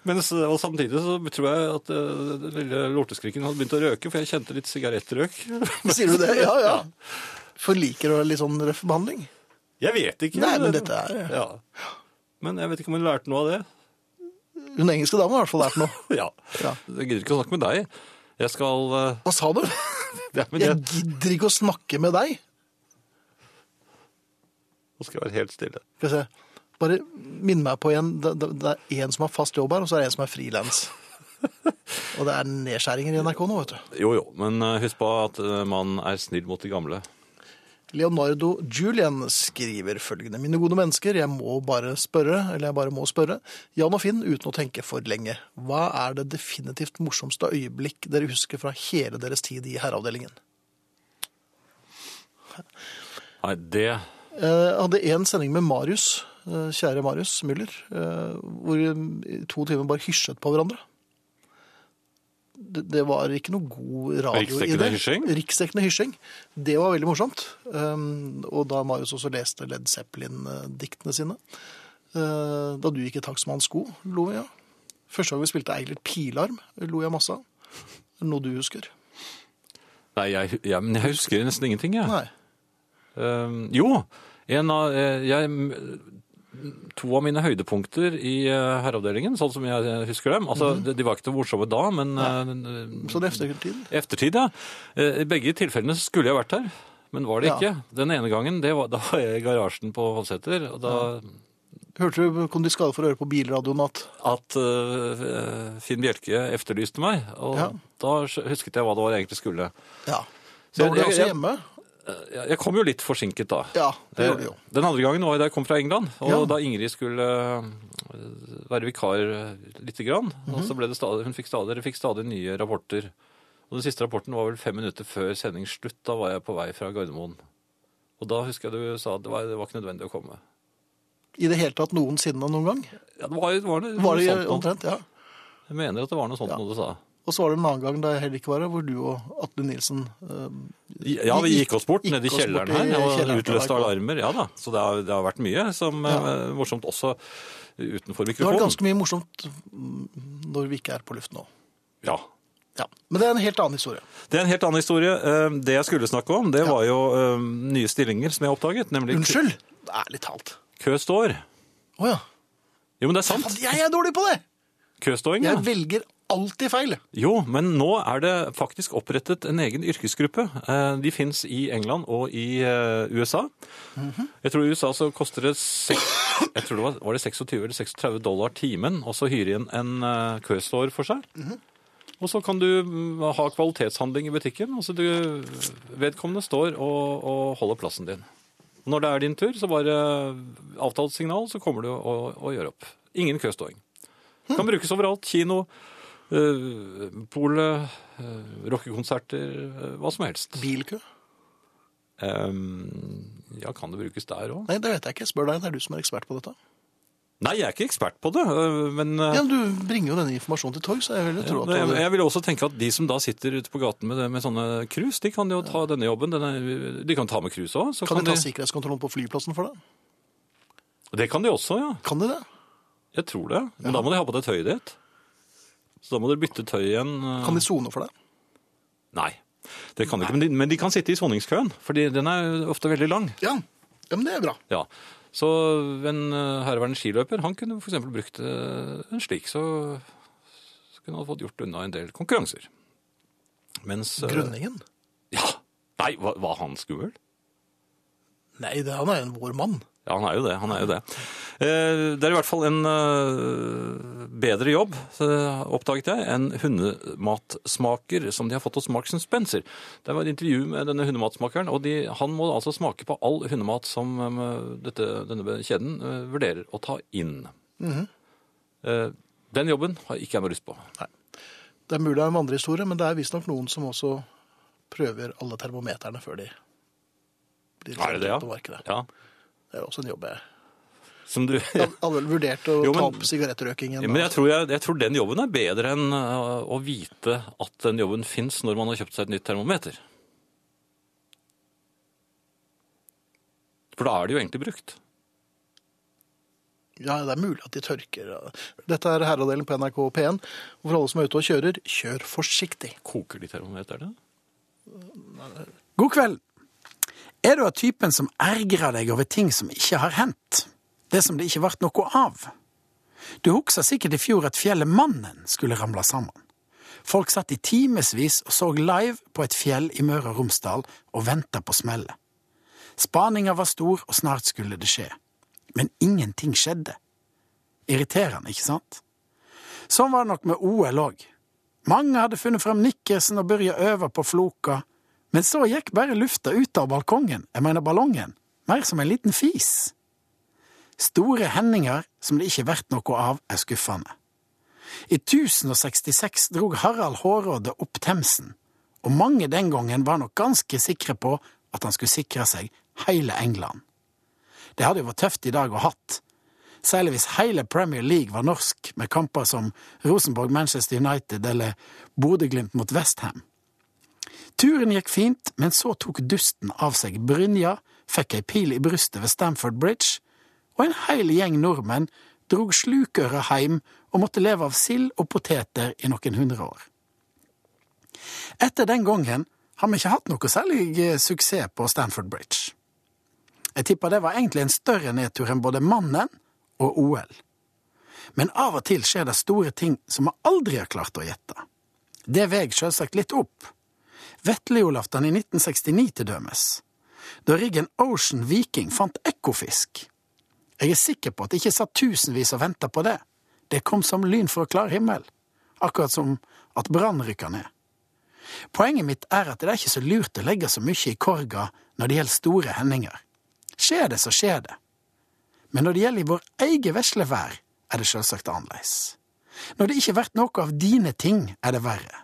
Speaker 2: Men s- og samtidig så tror jeg at eh, den lille lorteskrikken hadde begynt å røke, for jeg kjente litt sigarettrøk.
Speaker 1: Sier du det? Ja, ja. For liker du litt sånn røff behandling?
Speaker 2: Jeg vet ikke.
Speaker 1: Nei, men dette er-
Speaker 2: ja. Men jeg vet ikke om hun lærte noe av det.
Speaker 1: Hun engelske damen har i hvert fall lært noe.
Speaker 2: Ja.
Speaker 1: Ja.
Speaker 2: Jeg gidder ikke å snakke med deg. Jeg skal eh,
Speaker 1: Hva sa du?
Speaker 2: ja, men
Speaker 1: Jeg
Speaker 2: jeg,
Speaker 1: gidder ikke å snakke med deg.
Speaker 2: Nå skal jeg være helt stille.
Speaker 1: Skal vi se. Bare minn meg på igjen. Det, det, det er en som har fast jobb her, og så er det en som er frilans. Og det er nedskjæringer i NRK nå, vet du.
Speaker 2: Jo, jo, men eh, husk på at eh, man er snill mot de gamle.
Speaker 1: Leonardo Julian skriver følgende. Mine gode mennesker, jeg må bare spørre, eller jeg bare må spørre, Jan og Finn, uten å tenke for lenge, hva er det definitivt morsomste øyeblikk dere husker fra hele deres tid i herreavdelingen?
Speaker 2: Nei, det
Speaker 1: Eh, Jeg hadde en sending med Marius, eh, kjære Marius Müller, eh, hvor vi i to timer bare hysjet på hverandre. Det, det var ikke noe god radio i
Speaker 2: Riksdekkende
Speaker 1: det.
Speaker 2: hysjing?
Speaker 1: Riksdekkende hysjing. Det var veldig morsomt. Um, og da Marius også leste Led Zeppelin-diktene sine. eh, Da du gikk i takstmannens sko, lo jeg. Første gang vi spilte Eilert Pilarm, lo jeg masse av. Noe du husker?
Speaker 2: Nei, jeg, ja, men jeg husker nesten ingenting, jeg.
Speaker 1: Nei.
Speaker 2: Eh, jo, en av eh, jeg, m- To av mine høydepunkter i eh, herreavdelingen, sånn som jeg eh, husker dem Altså, de, de var ikke noe morsomme da, men eh,
Speaker 1: Så det er eftertiden.
Speaker 2: i eftertid, ja. Eh, I begge tilfellene så skulle jeg vært der, men var det
Speaker 1: Ja.
Speaker 2: ikke. Den ene gangen, det var, da var jeg i garasjen på Hovseter, og da
Speaker 1: Hørte du, kom de skade for å høre på bilradioen at
Speaker 2: at eh, Finn Bjelke efterlyste meg, og
Speaker 1: Ja.
Speaker 2: da husket jeg hva det var jeg egentlig skulle.
Speaker 1: Ja.
Speaker 2: Så
Speaker 1: Da
Speaker 2: jeg-
Speaker 1: var du
Speaker 2: jeg-
Speaker 1: også
Speaker 2: jeg-
Speaker 1: hjemme?
Speaker 2: Jeg jeg kom jo litt forsinket da.
Speaker 1: Ja, det gjorde du jo.
Speaker 2: Eh, Den andre gangen var da jeg kom fra England, og
Speaker 1: Ja.
Speaker 2: da Ingrid skulle eh, være vikar eh, lite grann, og
Speaker 1: Mhm.
Speaker 2: så ble det stadig, hun fikk stadig, dere fikk stadig nye rapporter. Og den siste rapporten var vel fem minutter før sendingsslutt, da var jeg på vei fra Gardermoen. Og da husker jeg du sa at det var, det var ikke nødvendig å komme.
Speaker 1: I det hele tatt noensinne noen gang?
Speaker 2: Ja, det var, det var, noe
Speaker 1: Var det
Speaker 2: sånt noe.
Speaker 1: omtrent, ja.
Speaker 2: Jeg mener at det var noe sånt noe du sa.
Speaker 1: Og så var det en annen gang da jeg heller ikke var her, hvor du og Atle Nilsen eh,
Speaker 2: Ja, vi gikk oss bort
Speaker 1: Gikk
Speaker 2: nede i
Speaker 1: oss bort
Speaker 2: kjelleren
Speaker 1: i
Speaker 2: her og
Speaker 1: kjelleren til
Speaker 2: utløste
Speaker 1: NRK.
Speaker 2: alarmer. Ja da, så det har, det har vært mye som er morsomt også utenfor
Speaker 1: Det var
Speaker 2: mikrofonen.
Speaker 1: ganske mye morsomt mm, når vi ikke er på luft nå.
Speaker 2: Ja.
Speaker 1: Ja. Men det er en helt annen historie.
Speaker 2: Det er en helt annen historie. Eh, Det jeg skulle snakke om, det
Speaker 1: Ja.
Speaker 2: var jo eh, nye stillinger som jeg oppdaget, nemlig kø-
Speaker 1: Unnskyld! Ærlig talt.
Speaker 2: kø står.
Speaker 1: Å ja.
Speaker 2: Jo, men det er sant.
Speaker 1: Faen, Jeg er dårlig på det!
Speaker 2: Køståing, ja.
Speaker 1: Jeg velger alltid feil.
Speaker 2: Jo, men nå er det faktisk opprettet en egen yrkesgruppe. Eh, De fins i England og i eh, USA. Jeg tror i USA så koster det seks- jeg tror det var, var det 26 eller 36 dollar timen og så hyre inn en eh, køstår for seg. Og så kan du mm, ha kvalitetshandling i butikken. Altså du, vedkommende står og, og holder plassen din. Når det er din tur, så bare eh, avtalt signal, så kommer du og, og gjør opp. Ingen køståing. Kan brukes overalt. Kino, øh, polet, øh, rockekonserter, øh, hva som helst.
Speaker 1: Bilkø?
Speaker 2: Ehm, ja, kan det brukes der òg?
Speaker 1: Nei, det vet jeg ikke. Spør deg, det er du som er ekspert på dette.
Speaker 2: Nei, jeg er ikke ekspert på det, øh, men øh,
Speaker 1: Ja, men Du bringer jo denne informasjonen til torgs, så jeg vil jo tro at
Speaker 2: Men jeg,
Speaker 1: du
Speaker 2: jeg vil også tenke at de som da sitter ute på gaten med, med sånne krus, de kan jo ta denne jobben. Denne, de kan ta med krus òg.
Speaker 1: Kan de ta sikkerhetskontrollen på flyplassen for deg?
Speaker 2: Det kan de også, ja.
Speaker 1: Kan de det?
Speaker 2: Jeg tror det. Men da må de ha på deg tøyet ditt. Så da må dere bytte tøy igjen. eh,
Speaker 1: Kan de sone for deg?
Speaker 2: Nei. Det kan de ikke, men de, men de kan sitte i soningskøen, fordi den er jo ofte veldig lang.
Speaker 1: Ja. ja, men det er bra.
Speaker 2: Ja. Så en eh, herværende skiløper, han kunne f.eks. brukt eh, en slik, så, så kunne han fått gjort unna en del konkurranser. Mens eh,
Speaker 1: Grønningen?
Speaker 2: Ja. Nei, var, var han skummel?
Speaker 1: Nei, det, han er en vår mann.
Speaker 2: Ja, han er jo det. han er jo Det Eh, Det er i hvert fall en eh, bedre jobb, eh, oppdaget jeg, enn hundematsmaker som de har fått hos Marks Spencer. Det var et intervju med denne hundematsmakeren, og de, han må altså smake på all hundemat som eh, dette, denne kjeden eh, vurderer å ta inn.
Speaker 1: Mhm.
Speaker 2: Eh, Den jobben har ikke jeg noe lyst på.
Speaker 1: Det er mulig det er en vandrehistorie, men det er visstnok noen som også prøver alle termometerne før de blir
Speaker 2: Er det det,
Speaker 1: sendt
Speaker 2: ja?
Speaker 1: ut på markedet.
Speaker 2: Ja,
Speaker 1: Det er også en jobb jeg
Speaker 2: som du...
Speaker 1: Jeg hadde vel vurdert å
Speaker 2: Jo,
Speaker 1: ta
Speaker 2: men-
Speaker 1: opp sigarettrøkingen.
Speaker 2: Men jeg tror, jeg, jeg tror den jobben er bedre enn eh, å vite at den jobben fins når man har kjøpt seg et nytt termometer. For da er det jo egentlig brukt.
Speaker 1: Ja, det er mulig at de tørker. Dette er herredelen på NRK P1. Og for alle som er ute og kjører, kjør forsiktig.
Speaker 2: Koker de termometerne?
Speaker 4: God kveld. Er du av typen som ergrer deg over ting som ikke har hendt? Det som det ikke vart noe av? Du husker sikkert i fjor at fjellet Mannen skulle ramle sammen. Folk satt i timevis og så live på et fjell i Møre og Romsdal og venta på smellet. Spaninga var stor, og snart skulle det skje. Men ingenting skjedde. Irriterende, ikke sant? Sånn var det nok med OL òg. Mange hadde funnet frem nikkersen og begynt å øve på floka, men så gikk bare lufta ut av balkongen, jeg mener ballongen, mer som en liten fis. Store hendinger som det ikke vært noe av, er skuffende. I 1066 drog Harald Hårråde opp Themsen, og mange den gangen var nok ganske sikre på at han skulle sikre seg hele England. Det hadde jo vært tøft i dag å hatt, særlig hvis hele Premier League var norsk, med kamper som Rosenborg-Manchester United eller Bodø-Glimt mot Westham. Turen gikk fint, men så tok dusten av seg brynja, fikk ei pil i brystet ved Stamford Bridge, og en hel gjeng nordmenn drog slukøra heim og måtte leve av sild og poteter i noen hundre år. Etter den gangen har vi ikke hatt noe særlig eh, suksess på Stamford Bridge. Jeg tipper det var egentlig en større nedtur enn både mannen og OL. Men av og til skjer det store ting som vi aldri har klart å gjette. Det veg selvsagt litt opp. Vetlejolaftan i 1969 til dømes. Da riggen Ocean Viking fant ekkofisk. Jeg er sikker på at det ikke satt tusenvis og venta på det. Det kom som lyn fra klar himmel. Akkurat som at brann rykka ned. Poenget mitt er at det er ikke så lurt å legge så mye i korga når det gjelder store hendinger. Skjer det, så skjer det. Men når det gjelder i vår egen vesle vær, er det selvsagt annerledes. Når det ikke blir noe av dine ting, er det verre.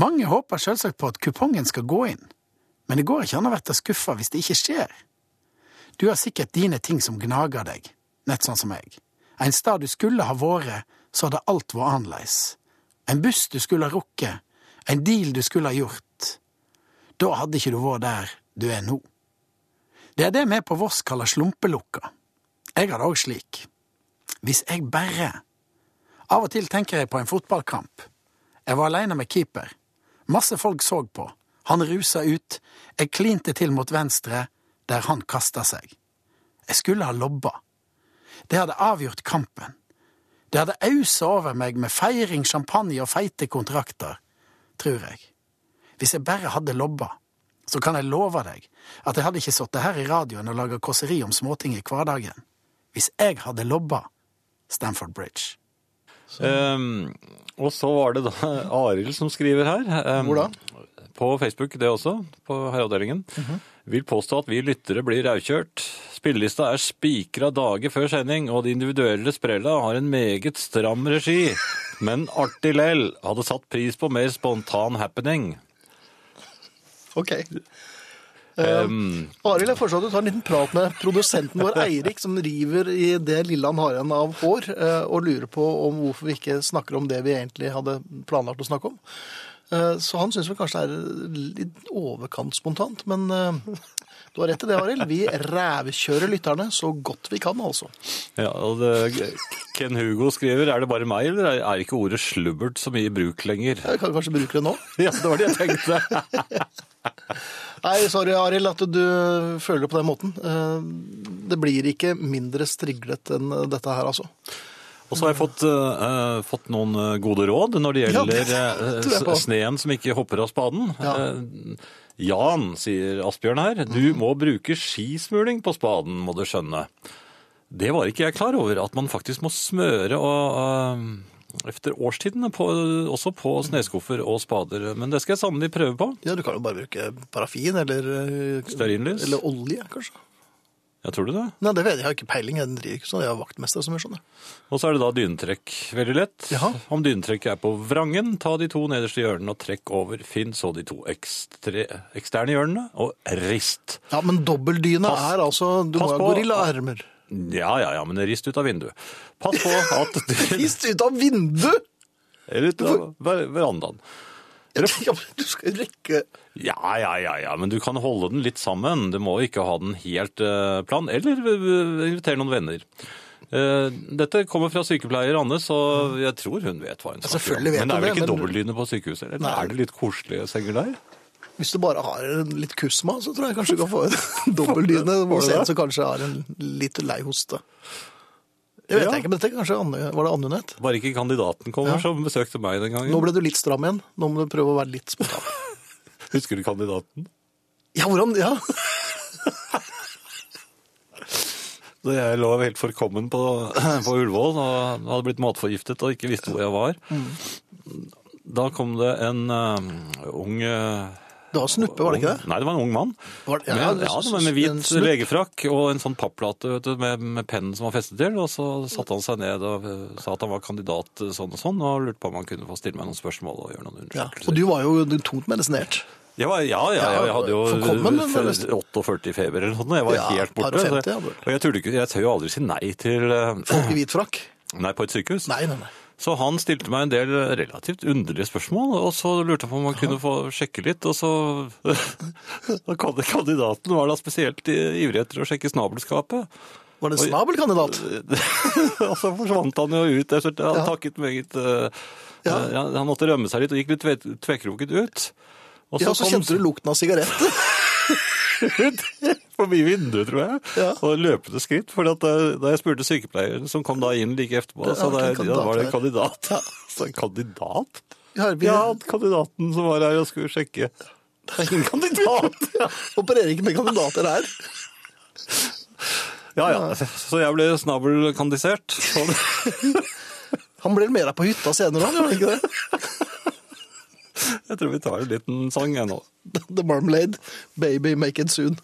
Speaker 4: Mange håper selvsagt på at kupongen skal gå inn, men det går ikke an å bli skuffa hvis det ikke skjer. Du har sikkert dine ting som gnager deg, nett sånn som meg. En stad du skulle ha vært, så hadde alt vært annerledes. En buss du skulle ha rukket, en deal du skulle ha gjort. Da hadde ikke du vært der du er nå. Det er det vi på Voss kaller slumpelukka. Jeg har det òg slik. Hvis jeg bare Av og til tenker jeg på en fotballkamp. Jeg var aleine med keeper. Masse folk så på. Han rusa ut. Jeg klinte til mot venstre, der han kasta seg. Jeg skulle ha lobba. Det hadde avgjort kampen. Det hadde ausa over meg med feiring, champagne og feite kontrakter, tror jeg. Hvis jeg bare hadde lobba, så kan jeg love deg at jeg hadde ikke sittet her i radioen og laga kåseri om småting i hverdagen. Hvis jeg hadde lobba Stamford Bridge.
Speaker 2: Ehm, Og så var det da Arild som skriver her. eh,
Speaker 1: Hvor da?
Speaker 2: På Facebook, det også. På Herreavdelingen. Vil påstå at vi lyttere blir raukjørt. Spillelista er spikra dager før sending, og de individuelle sprella har en meget stram regi. Men artig lell. Hadde satt pris på mer spontan happening.
Speaker 1: OK. Um, Arild, jeg foreslår at du tar en liten prat med produsenten vår, Eirik, som river i det lille han har igjen av hår, eh, og lurer på om hvorfor vi ikke snakker om det vi egentlig hadde planlagt å snakke om. Eh, Så han syns vel kanskje det er litt overkant spontant, men eh, du har rett i det, Arild. Vi rævkjører lytterne så godt vi kan, altså.
Speaker 2: Ja, og det, Ken Hugo skriver er det bare meg, eller er ikke ordet slubbert så mye i bruk lenger?
Speaker 1: Jeg Eh, kan kanskje bruke det nå.
Speaker 2: Ja, det var det jeg tenkte.
Speaker 1: Nei, sorry, Arild, at du føler det på den måten. Eh, Det blir ikke mindre striglet enn dette her, altså.
Speaker 2: Og så har jeg fått, eh, eh, fått noen eh, gode råd når det
Speaker 1: Ja,
Speaker 2: gjelder
Speaker 1: det
Speaker 2: eh,
Speaker 1: tror jeg på.
Speaker 2: s- sneen som ikke hopper av spaden. Eh, Jan, sier Asbjørn her,
Speaker 1: Mm.
Speaker 2: du må bruke skismuling på spaden, må du skjønne. Det var ikke jeg klar over, at man faktisk må smøre og, eh, efter årstidene, på, også på sneskuffer og spader. Men det skal jeg sannelig prøve på.
Speaker 1: Ja, du kan jo bare bruke parafin eller eh,
Speaker 2: Stearinlys?
Speaker 1: Eller olje, kanskje.
Speaker 2: Jeg tror du det?
Speaker 1: Nei, det vet jeg, jeg har ikke peiling. Jeg driver ikke sånn. Jeg er vaktmester, som jeg skjønner.
Speaker 2: Og så er det da dynetrekk. Veldig lett.
Speaker 1: Jaha.
Speaker 2: Om dynetrekket er på vrangen, ta de to nederste hjørnene og trekk over. Finn så de to ekstre, eksterne hjørnene, og rist.
Speaker 1: Ja, men dobbeldyne
Speaker 2: Pass-
Speaker 1: er altså Du må
Speaker 2: pass
Speaker 1: ha
Speaker 2: på-
Speaker 1: gorillaermer.
Speaker 2: Ja, ja, ja, men rist ut av vinduet. Pass på at du
Speaker 1: Hist ut av vinduet!
Speaker 2: Eller ut av ver- verandaen.
Speaker 1: Ja, men du skal jo rekke
Speaker 2: Ja, ja, ja, ja, men du kan holde den litt sammen. Du må ikke ha den helt eh, plan. Eller eh, invitere noen venner. Eh, dette kommer fra sykepleier Anne, så jeg tror hun vet hva hun snakker om.
Speaker 1: selvfølgelig vet
Speaker 2: Men det
Speaker 1: hun
Speaker 2: er vel
Speaker 1: det,
Speaker 2: ikke
Speaker 1: men-
Speaker 2: dobbeltdyne på sykehuset? Eller
Speaker 1: Nei.
Speaker 2: er det litt koselige senger der?
Speaker 1: Hvis du bare har en litt kusma, så tror jeg kanskje du kan få en dobbeldyne hos
Speaker 2: det?
Speaker 1: en som kanskje har en litt lei hoste. Det vet
Speaker 2: Ja.
Speaker 1: jeg ikke, men dette er kanskje Anne, var det Anne hun het?
Speaker 2: Bare ikke kandidaten kommer, som besøkte meg den gangen.
Speaker 1: Nå ble du litt stram igjen. Nå må du prøve å være litt spontan.
Speaker 2: Husker du kandidaten?
Speaker 1: Ja, hvordan Ja,
Speaker 2: Da jeg lå helt forkommen på, på Ullevål og hadde blitt matforgiftet og ikke visste hvor jeg var. Mm. Da kom det en eh, ung eh,
Speaker 1: det var snuppe, var det ikke det?
Speaker 2: Nei, det var en ung mann.
Speaker 1: Var det- ja,
Speaker 2: med,
Speaker 1: det-
Speaker 2: ja, det var med
Speaker 1: en
Speaker 2: hvit
Speaker 1: snupp.
Speaker 2: legefrakk og en sånn papplate vet du, med, med pennen som var festet til. Og så satte han seg ned og eh, sa at han var kandidat eh, sånn og sånn, og lurte på om han kunne få stille meg noen spørsmål og gjøre noen
Speaker 1: Ja.
Speaker 2: undersøkelser.
Speaker 1: Og du var jo tungt medisinert.
Speaker 2: Jeg var, ja, ja, ja, jeg hadde jo
Speaker 1: Forkommen, men det
Speaker 2: f- 48 i feber eller noe sånt. Jeg var
Speaker 1: Ja,
Speaker 2: helt
Speaker 1: par og
Speaker 2: borte. så-
Speaker 1: 50 hadde du.
Speaker 2: og jeg, turde ikke, jeg tør jo aldri si nei til eh,
Speaker 1: Folk i hvit frakk.
Speaker 2: Nei, på et sykehus.
Speaker 1: Nei, nei, nei.
Speaker 2: Så han stilte meg en del relativt underlige spørsmål, og så lurte jeg på om han kunne få sjekke litt, og så Da kom det kandidaten, var da spesielt i- ivrig etter å sjekke snabelskapet.
Speaker 1: Var det en snabelkandidat?
Speaker 2: og så forsvant han jo ut. Jeg skjønte, han takket meget eh,
Speaker 1: Ja.
Speaker 2: eh, han- Han måtte rømme seg litt og gikk litt tve- tvekroket ut. Og
Speaker 1: Ja, så
Speaker 2: kom-
Speaker 1: kjente du lukten av sigaretter.
Speaker 2: ut forbi vinduet, tror jeg,
Speaker 1: Ja.
Speaker 2: og løpende skritt. For at eh, da jeg spurte sykepleieren, som kom da inn like etterpå,
Speaker 1: Det
Speaker 2: så
Speaker 1: var
Speaker 2: da,
Speaker 1: ikke en
Speaker 2: ja, da var det en
Speaker 1: kandidat
Speaker 2: kandidat. Så en kandidat?
Speaker 1: Ja, vi-
Speaker 2: Ja, kandidaten som var her og skulle sjekke. Det er en kandidat! Ja.
Speaker 1: Opererer ikke med kandidater her.
Speaker 2: ja ja, så jeg ble snabelkandisert. Og det-
Speaker 1: Han ble mer på hytta senere òg, gjorde han ikke det?
Speaker 2: Jeg tror vi tar en liten sang jeg nå.
Speaker 1: The Marmalade, Baby Make It Soon.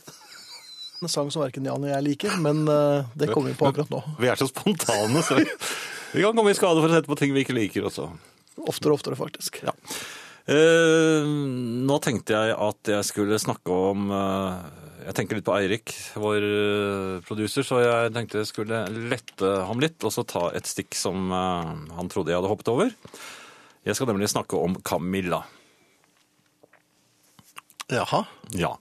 Speaker 1: En sang som verken Jan og jeg liker, men eh, det kommer vi på akkurat nå.
Speaker 2: Vi er så spontane, så vi vi kan komme i skade for å sette på ting vi ikke liker også.
Speaker 1: Oftere og oftere, faktisk.
Speaker 2: Ja. Eh, nå tenkte jeg at jeg skulle snakke om eh, Jeg tenker litt på Eirik, vår eh, producer, så jeg tenkte jeg skulle lette ham litt og så ta et stikk som eh, han trodde jeg hadde hoppet over. Jeg skal nemlig snakke om Camilla.
Speaker 1: Jaha.
Speaker 2: Ja.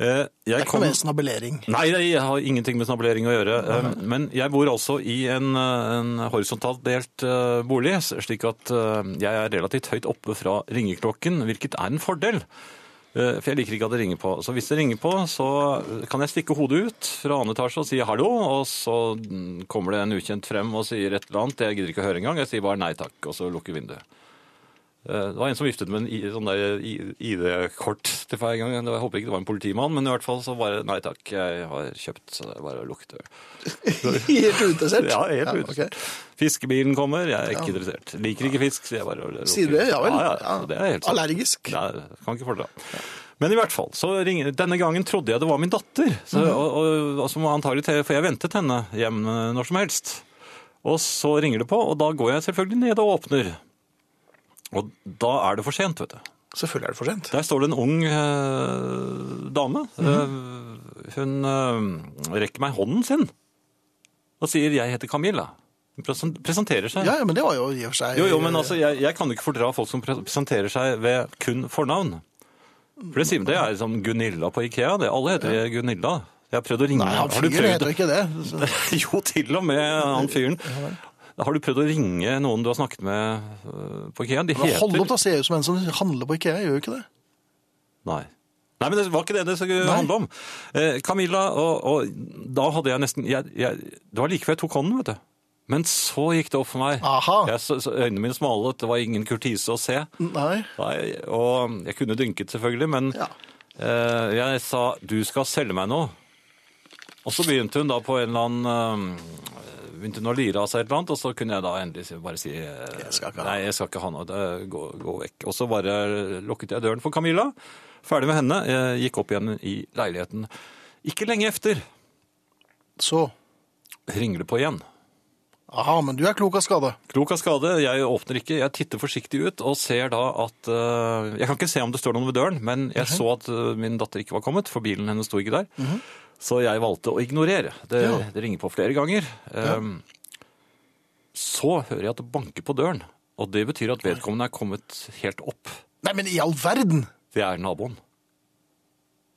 Speaker 2: Eh,
Speaker 1: Det
Speaker 2: jeg
Speaker 1: er ikke
Speaker 2: kom...
Speaker 1: noe mer snabelering.
Speaker 2: Nei, jeg har ingenting med snabelering å gjøre. eh, Men jeg bor altså i en, eh, en horisontalt delt eh, bolig, s- slik at eh, jeg er relativt høyt oppe fra ringeklokken, hvilket er en fordel. Eh, For jeg liker ikke at det ringer på. Så hvis det ringer på, så eh, kan jeg stikke hodet ut fra annen etasje og si hallo, og så mm, kommer det en ukjent frem og sier et eller annet. Jeg gidder ikke å høre engang. Jeg sier bare nei takk, og så lukker vinduet. Eh, Det var en som viftet med en i- sånn der i- ID-kort til feil gang. Det var- Jeg håper ikke det var en politimann, men i hvert fall så bare Nei takk, jeg har kjøpt, så det er bare å lukte.
Speaker 1: Helt uinteressert?
Speaker 2: Ja, helt ja,
Speaker 1: ok.
Speaker 2: Fiskebilen kommer, jeg er ikke interessert. Liker ikke fisk, sier jeg bare. og lukter.
Speaker 1: Sier du det? Ja vel.
Speaker 2: Ja, ja, så det er helt sant.
Speaker 1: Allergisk.
Speaker 2: Nei, det kan ikke fordra. Men i hvert fall, så ringer, denne gangen trodde jeg det var min datter, så,
Speaker 1: Mhm.
Speaker 2: og, og, og som antagelig, til- for jeg ventet henne hjem eh, når som helst. Og så ringer det på, og da går jeg selvfølgelig ned og åpner. Og da er det for sent, vet du.
Speaker 1: Selvfølgelig er det for sent.
Speaker 2: Der står det en ung eh, dame. Eh, hun eh, rekker meg hånden sin og sier 'jeg heter Camilla'. Hun presen- presenterer seg.
Speaker 1: Ja, ja, men det var jo i og for seg
Speaker 2: Jo, jo, men altså, jeg, jeg kan jo ikke fordra folk som presenterer seg ved kun fornavn. For det sier det er som Gunilla på Ikea. Det. Alle heter Gunilla. Jeg har prøvd å ringe
Speaker 1: Nei, han
Speaker 2: Har du
Speaker 1: fyren
Speaker 2: prøvd
Speaker 1: heter ikke det. Så-
Speaker 2: Jo, til og med han fyren. Har du prøvd å ringe noen du har snakket med øh, på Ikea? De
Speaker 1: Men Hold opp,
Speaker 2: heter
Speaker 1: da ser jeg ut som en som handler på IKEA, gjør jo ikke det?
Speaker 2: Nei. Nei, men det var ikke det det skulle handle om. Eh, Camilla, og, og da hadde jeg nesten jeg, jeg, Det var like før jeg tok hånden, vet du. Men så gikk det opp for meg.
Speaker 1: Aha.
Speaker 2: Jeg, så, så øynene mine smalet, det var ingen kurtise å se.
Speaker 1: Nei.
Speaker 2: Nei, og jeg kunne dynket selvfølgelig, men
Speaker 1: Ja.
Speaker 2: eh, jeg sa du skal selge meg noe. Og så begynte hun da på en eller annen eh, Begynte hun å lire av seg et eller annet, og så kunne jeg da endelig si- bare si jeg
Speaker 1: skal ikke ha
Speaker 2: Nei, jeg skal ikke ha noe. det- Gå, gå vekk. Og så bare lukket jeg døren for Camilla. Ferdig med henne. Jeg gikk opp igjen i leiligheten. Ikke lenge efter
Speaker 1: Så.
Speaker 2: ringer det på igjen.
Speaker 1: Aha, men du er klok av skade.
Speaker 2: Klok av skade, jeg åpner ikke, jeg titter forsiktig ut og ser da at eh, Jeg kan ikke se om det står noen ved døren, men
Speaker 1: Mhm.
Speaker 2: jeg så at eh, min datter ikke var kommet, for bilen hennes sto ikke der. Så jeg valgte å ignorere. Det,
Speaker 1: Ja.
Speaker 2: det ringer på flere ganger. Ehm, Så hører jeg at det banker på døren, og det betyr at vedkommende er kommet helt opp.
Speaker 1: Nei, men i all verden!
Speaker 2: Det er naboen.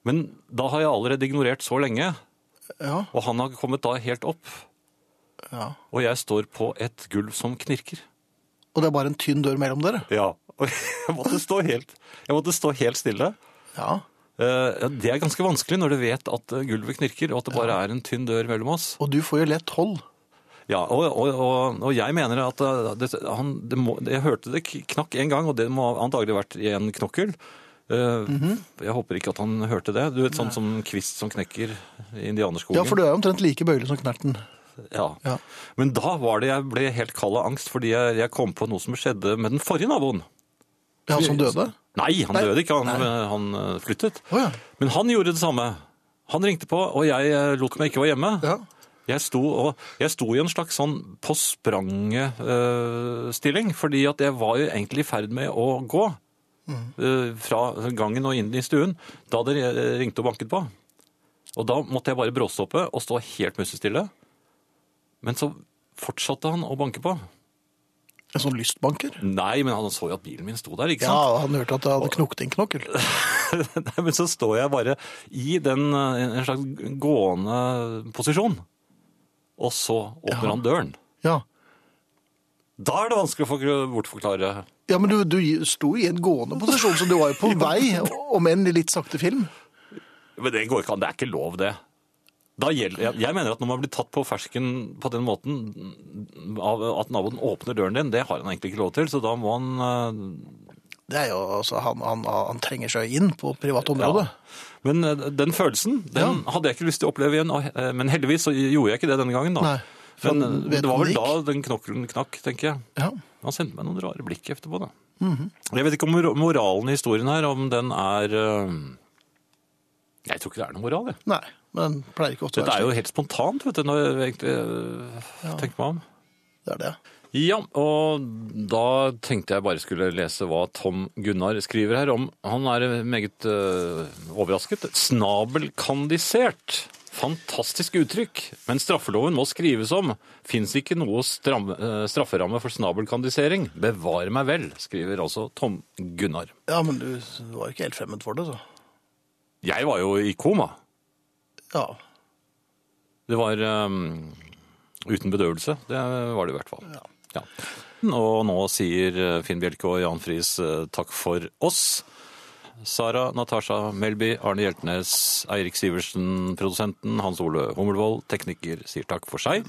Speaker 2: Men da har jeg allerede ignorert så lenge,
Speaker 1: Ja,
Speaker 2: og han har kommet da helt opp,
Speaker 1: ja.
Speaker 2: og jeg står på et gulv som knirker.
Speaker 1: Og det er bare en tynn dør mellom dere?
Speaker 2: Ja, og jeg måtte stå helt, jeg måtte stå helt stille.
Speaker 1: Ja.
Speaker 2: Eh, ja, det er ganske vanskelig når du vet at eh, gulvet knirker, og at det bare er en tynn dør mellom oss.
Speaker 1: Og du får jo lett hold.
Speaker 2: Ja, og, og, og, og jeg mener at eh, det, han, det må, jeg hørte det k- knakk en gang, og det må ha antagelig vært i en knokkel. Eh, Jeg håper ikke at han hørte det. Du vet, sånn som kvist som knekker i indianerskogen.
Speaker 1: Ja, for du er jo omtrent like bøyelig som Knerten.
Speaker 2: Ja.
Speaker 1: Ja.
Speaker 2: Men da var det jeg ble helt kald av angst, fordi jeg, jeg kom på noe som skjedde med den forrige naboen.
Speaker 1: Ja, som døde?
Speaker 2: Nei, han
Speaker 1: Nei.
Speaker 2: døde ikke. Han, han eh, flyttet.
Speaker 1: Å ja.
Speaker 2: Men han gjorde det samme. Han ringte på, og jeg eh, lot meg ikke være hjemme.
Speaker 1: Ja.
Speaker 2: Jeg sto, og, jeg sto i en slags sånn på spranget-stilling, fordi at jeg var jo egentlig i ferd med å gå eh, fra gangen og inn i stuen da det eh, ringte og banket på. Og da måtte jeg bare bråstoppe og stå helt musestille. Men så fortsatte han å banke på.
Speaker 1: En sånn lystbanker?
Speaker 2: Nei, men han så jo at bilen min sto der, ikke
Speaker 1: Ja,
Speaker 2: sant?
Speaker 1: han hørte at det hadde knokt inn knokkel.
Speaker 2: Nei, men så står jeg bare i den, eh, en slags gående posisjon. Og så åpner han døren.
Speaker 1: Ja.
Speaker 2: Da er det vanskelig å forkl- bortforklare.
Speaker 1: Ja, men du, du sto i en gående posisjon, så du var jo på vei, om enn i litt sakte film.
Speaker 2: Men det går ikke an. Det er ikke lov, det. Da gjelder, jeg, jeg mener at når man blir tatt på fersken på den måten, av at naboen åpner døren din, det har han egentlig ikke lov til, så da må han eh,
Speaker 1: Det er jo, altså, han, han, han trenger seg inn på privat område.
Speaker 2: Men eh, den følelsen den hadde jeg ikke lyst til å oppleve igjen, og, eh, men heldigvis så gjorde jeg ikke det denne gangen. da.
Speaker 1: Nei, for
Speaker 2: men
Speaker 1: han
Speaker 2: eh,
Speaker 1: vet
Speaker 2: det var
Speaker 1: han
Speaker 2: vel da
Speaker 1: gikk.
Speaker 2: den knokkelen knakk, tenker jeg.
Speaker 1: Ja.
Speaker 2: Han sendte meg noen rare blikk etterpå, da. Jeg vet ikke om mor- moralen i historien her, om den er eh, Jeg tror ikke det er noen moral, jeg.
Speaker 1: Nei, men det pleier ikke ofte å
Speaker 2: Dette er
Speaker 1: være
Speaker 2: jo
Speaker 1: slik.
Speaker 2: helt spontant, vet du, når jeg egentlig eh, tenker meg om.
Speaker 1: Det er det.
Speaker 2: Ja, og da tenkte jeg bare skulle lese hva Tom Gunnar skriver her om. Han er meget eh, overrasket. Snabelkandisert. Fantastisk uttrykk. Men straffeloven må skrives om. Fins ikke noe stram, eh, strafferamme for snabelkandisering. Bevare meg vel, skriver altså Tom Gunnar.
Speaker 1: Ja, men du, du var ikke helt fremmed for det, så.
Speaker 2: Jeg var jo i koma.
Speaker 1: Ja.
Speaker 2: Det var ehm, uten bedøvelse, det var det i hvert fall. Ja. Og nå sier eh, Finn Bjelke og Jan Friis eh, takk for oss. Sara Natasha Melby, Arne Hjeltnes, Eirik Sivertsen, produsenten, Hans Ole Hummelvold, tekniker, sier takk for seg.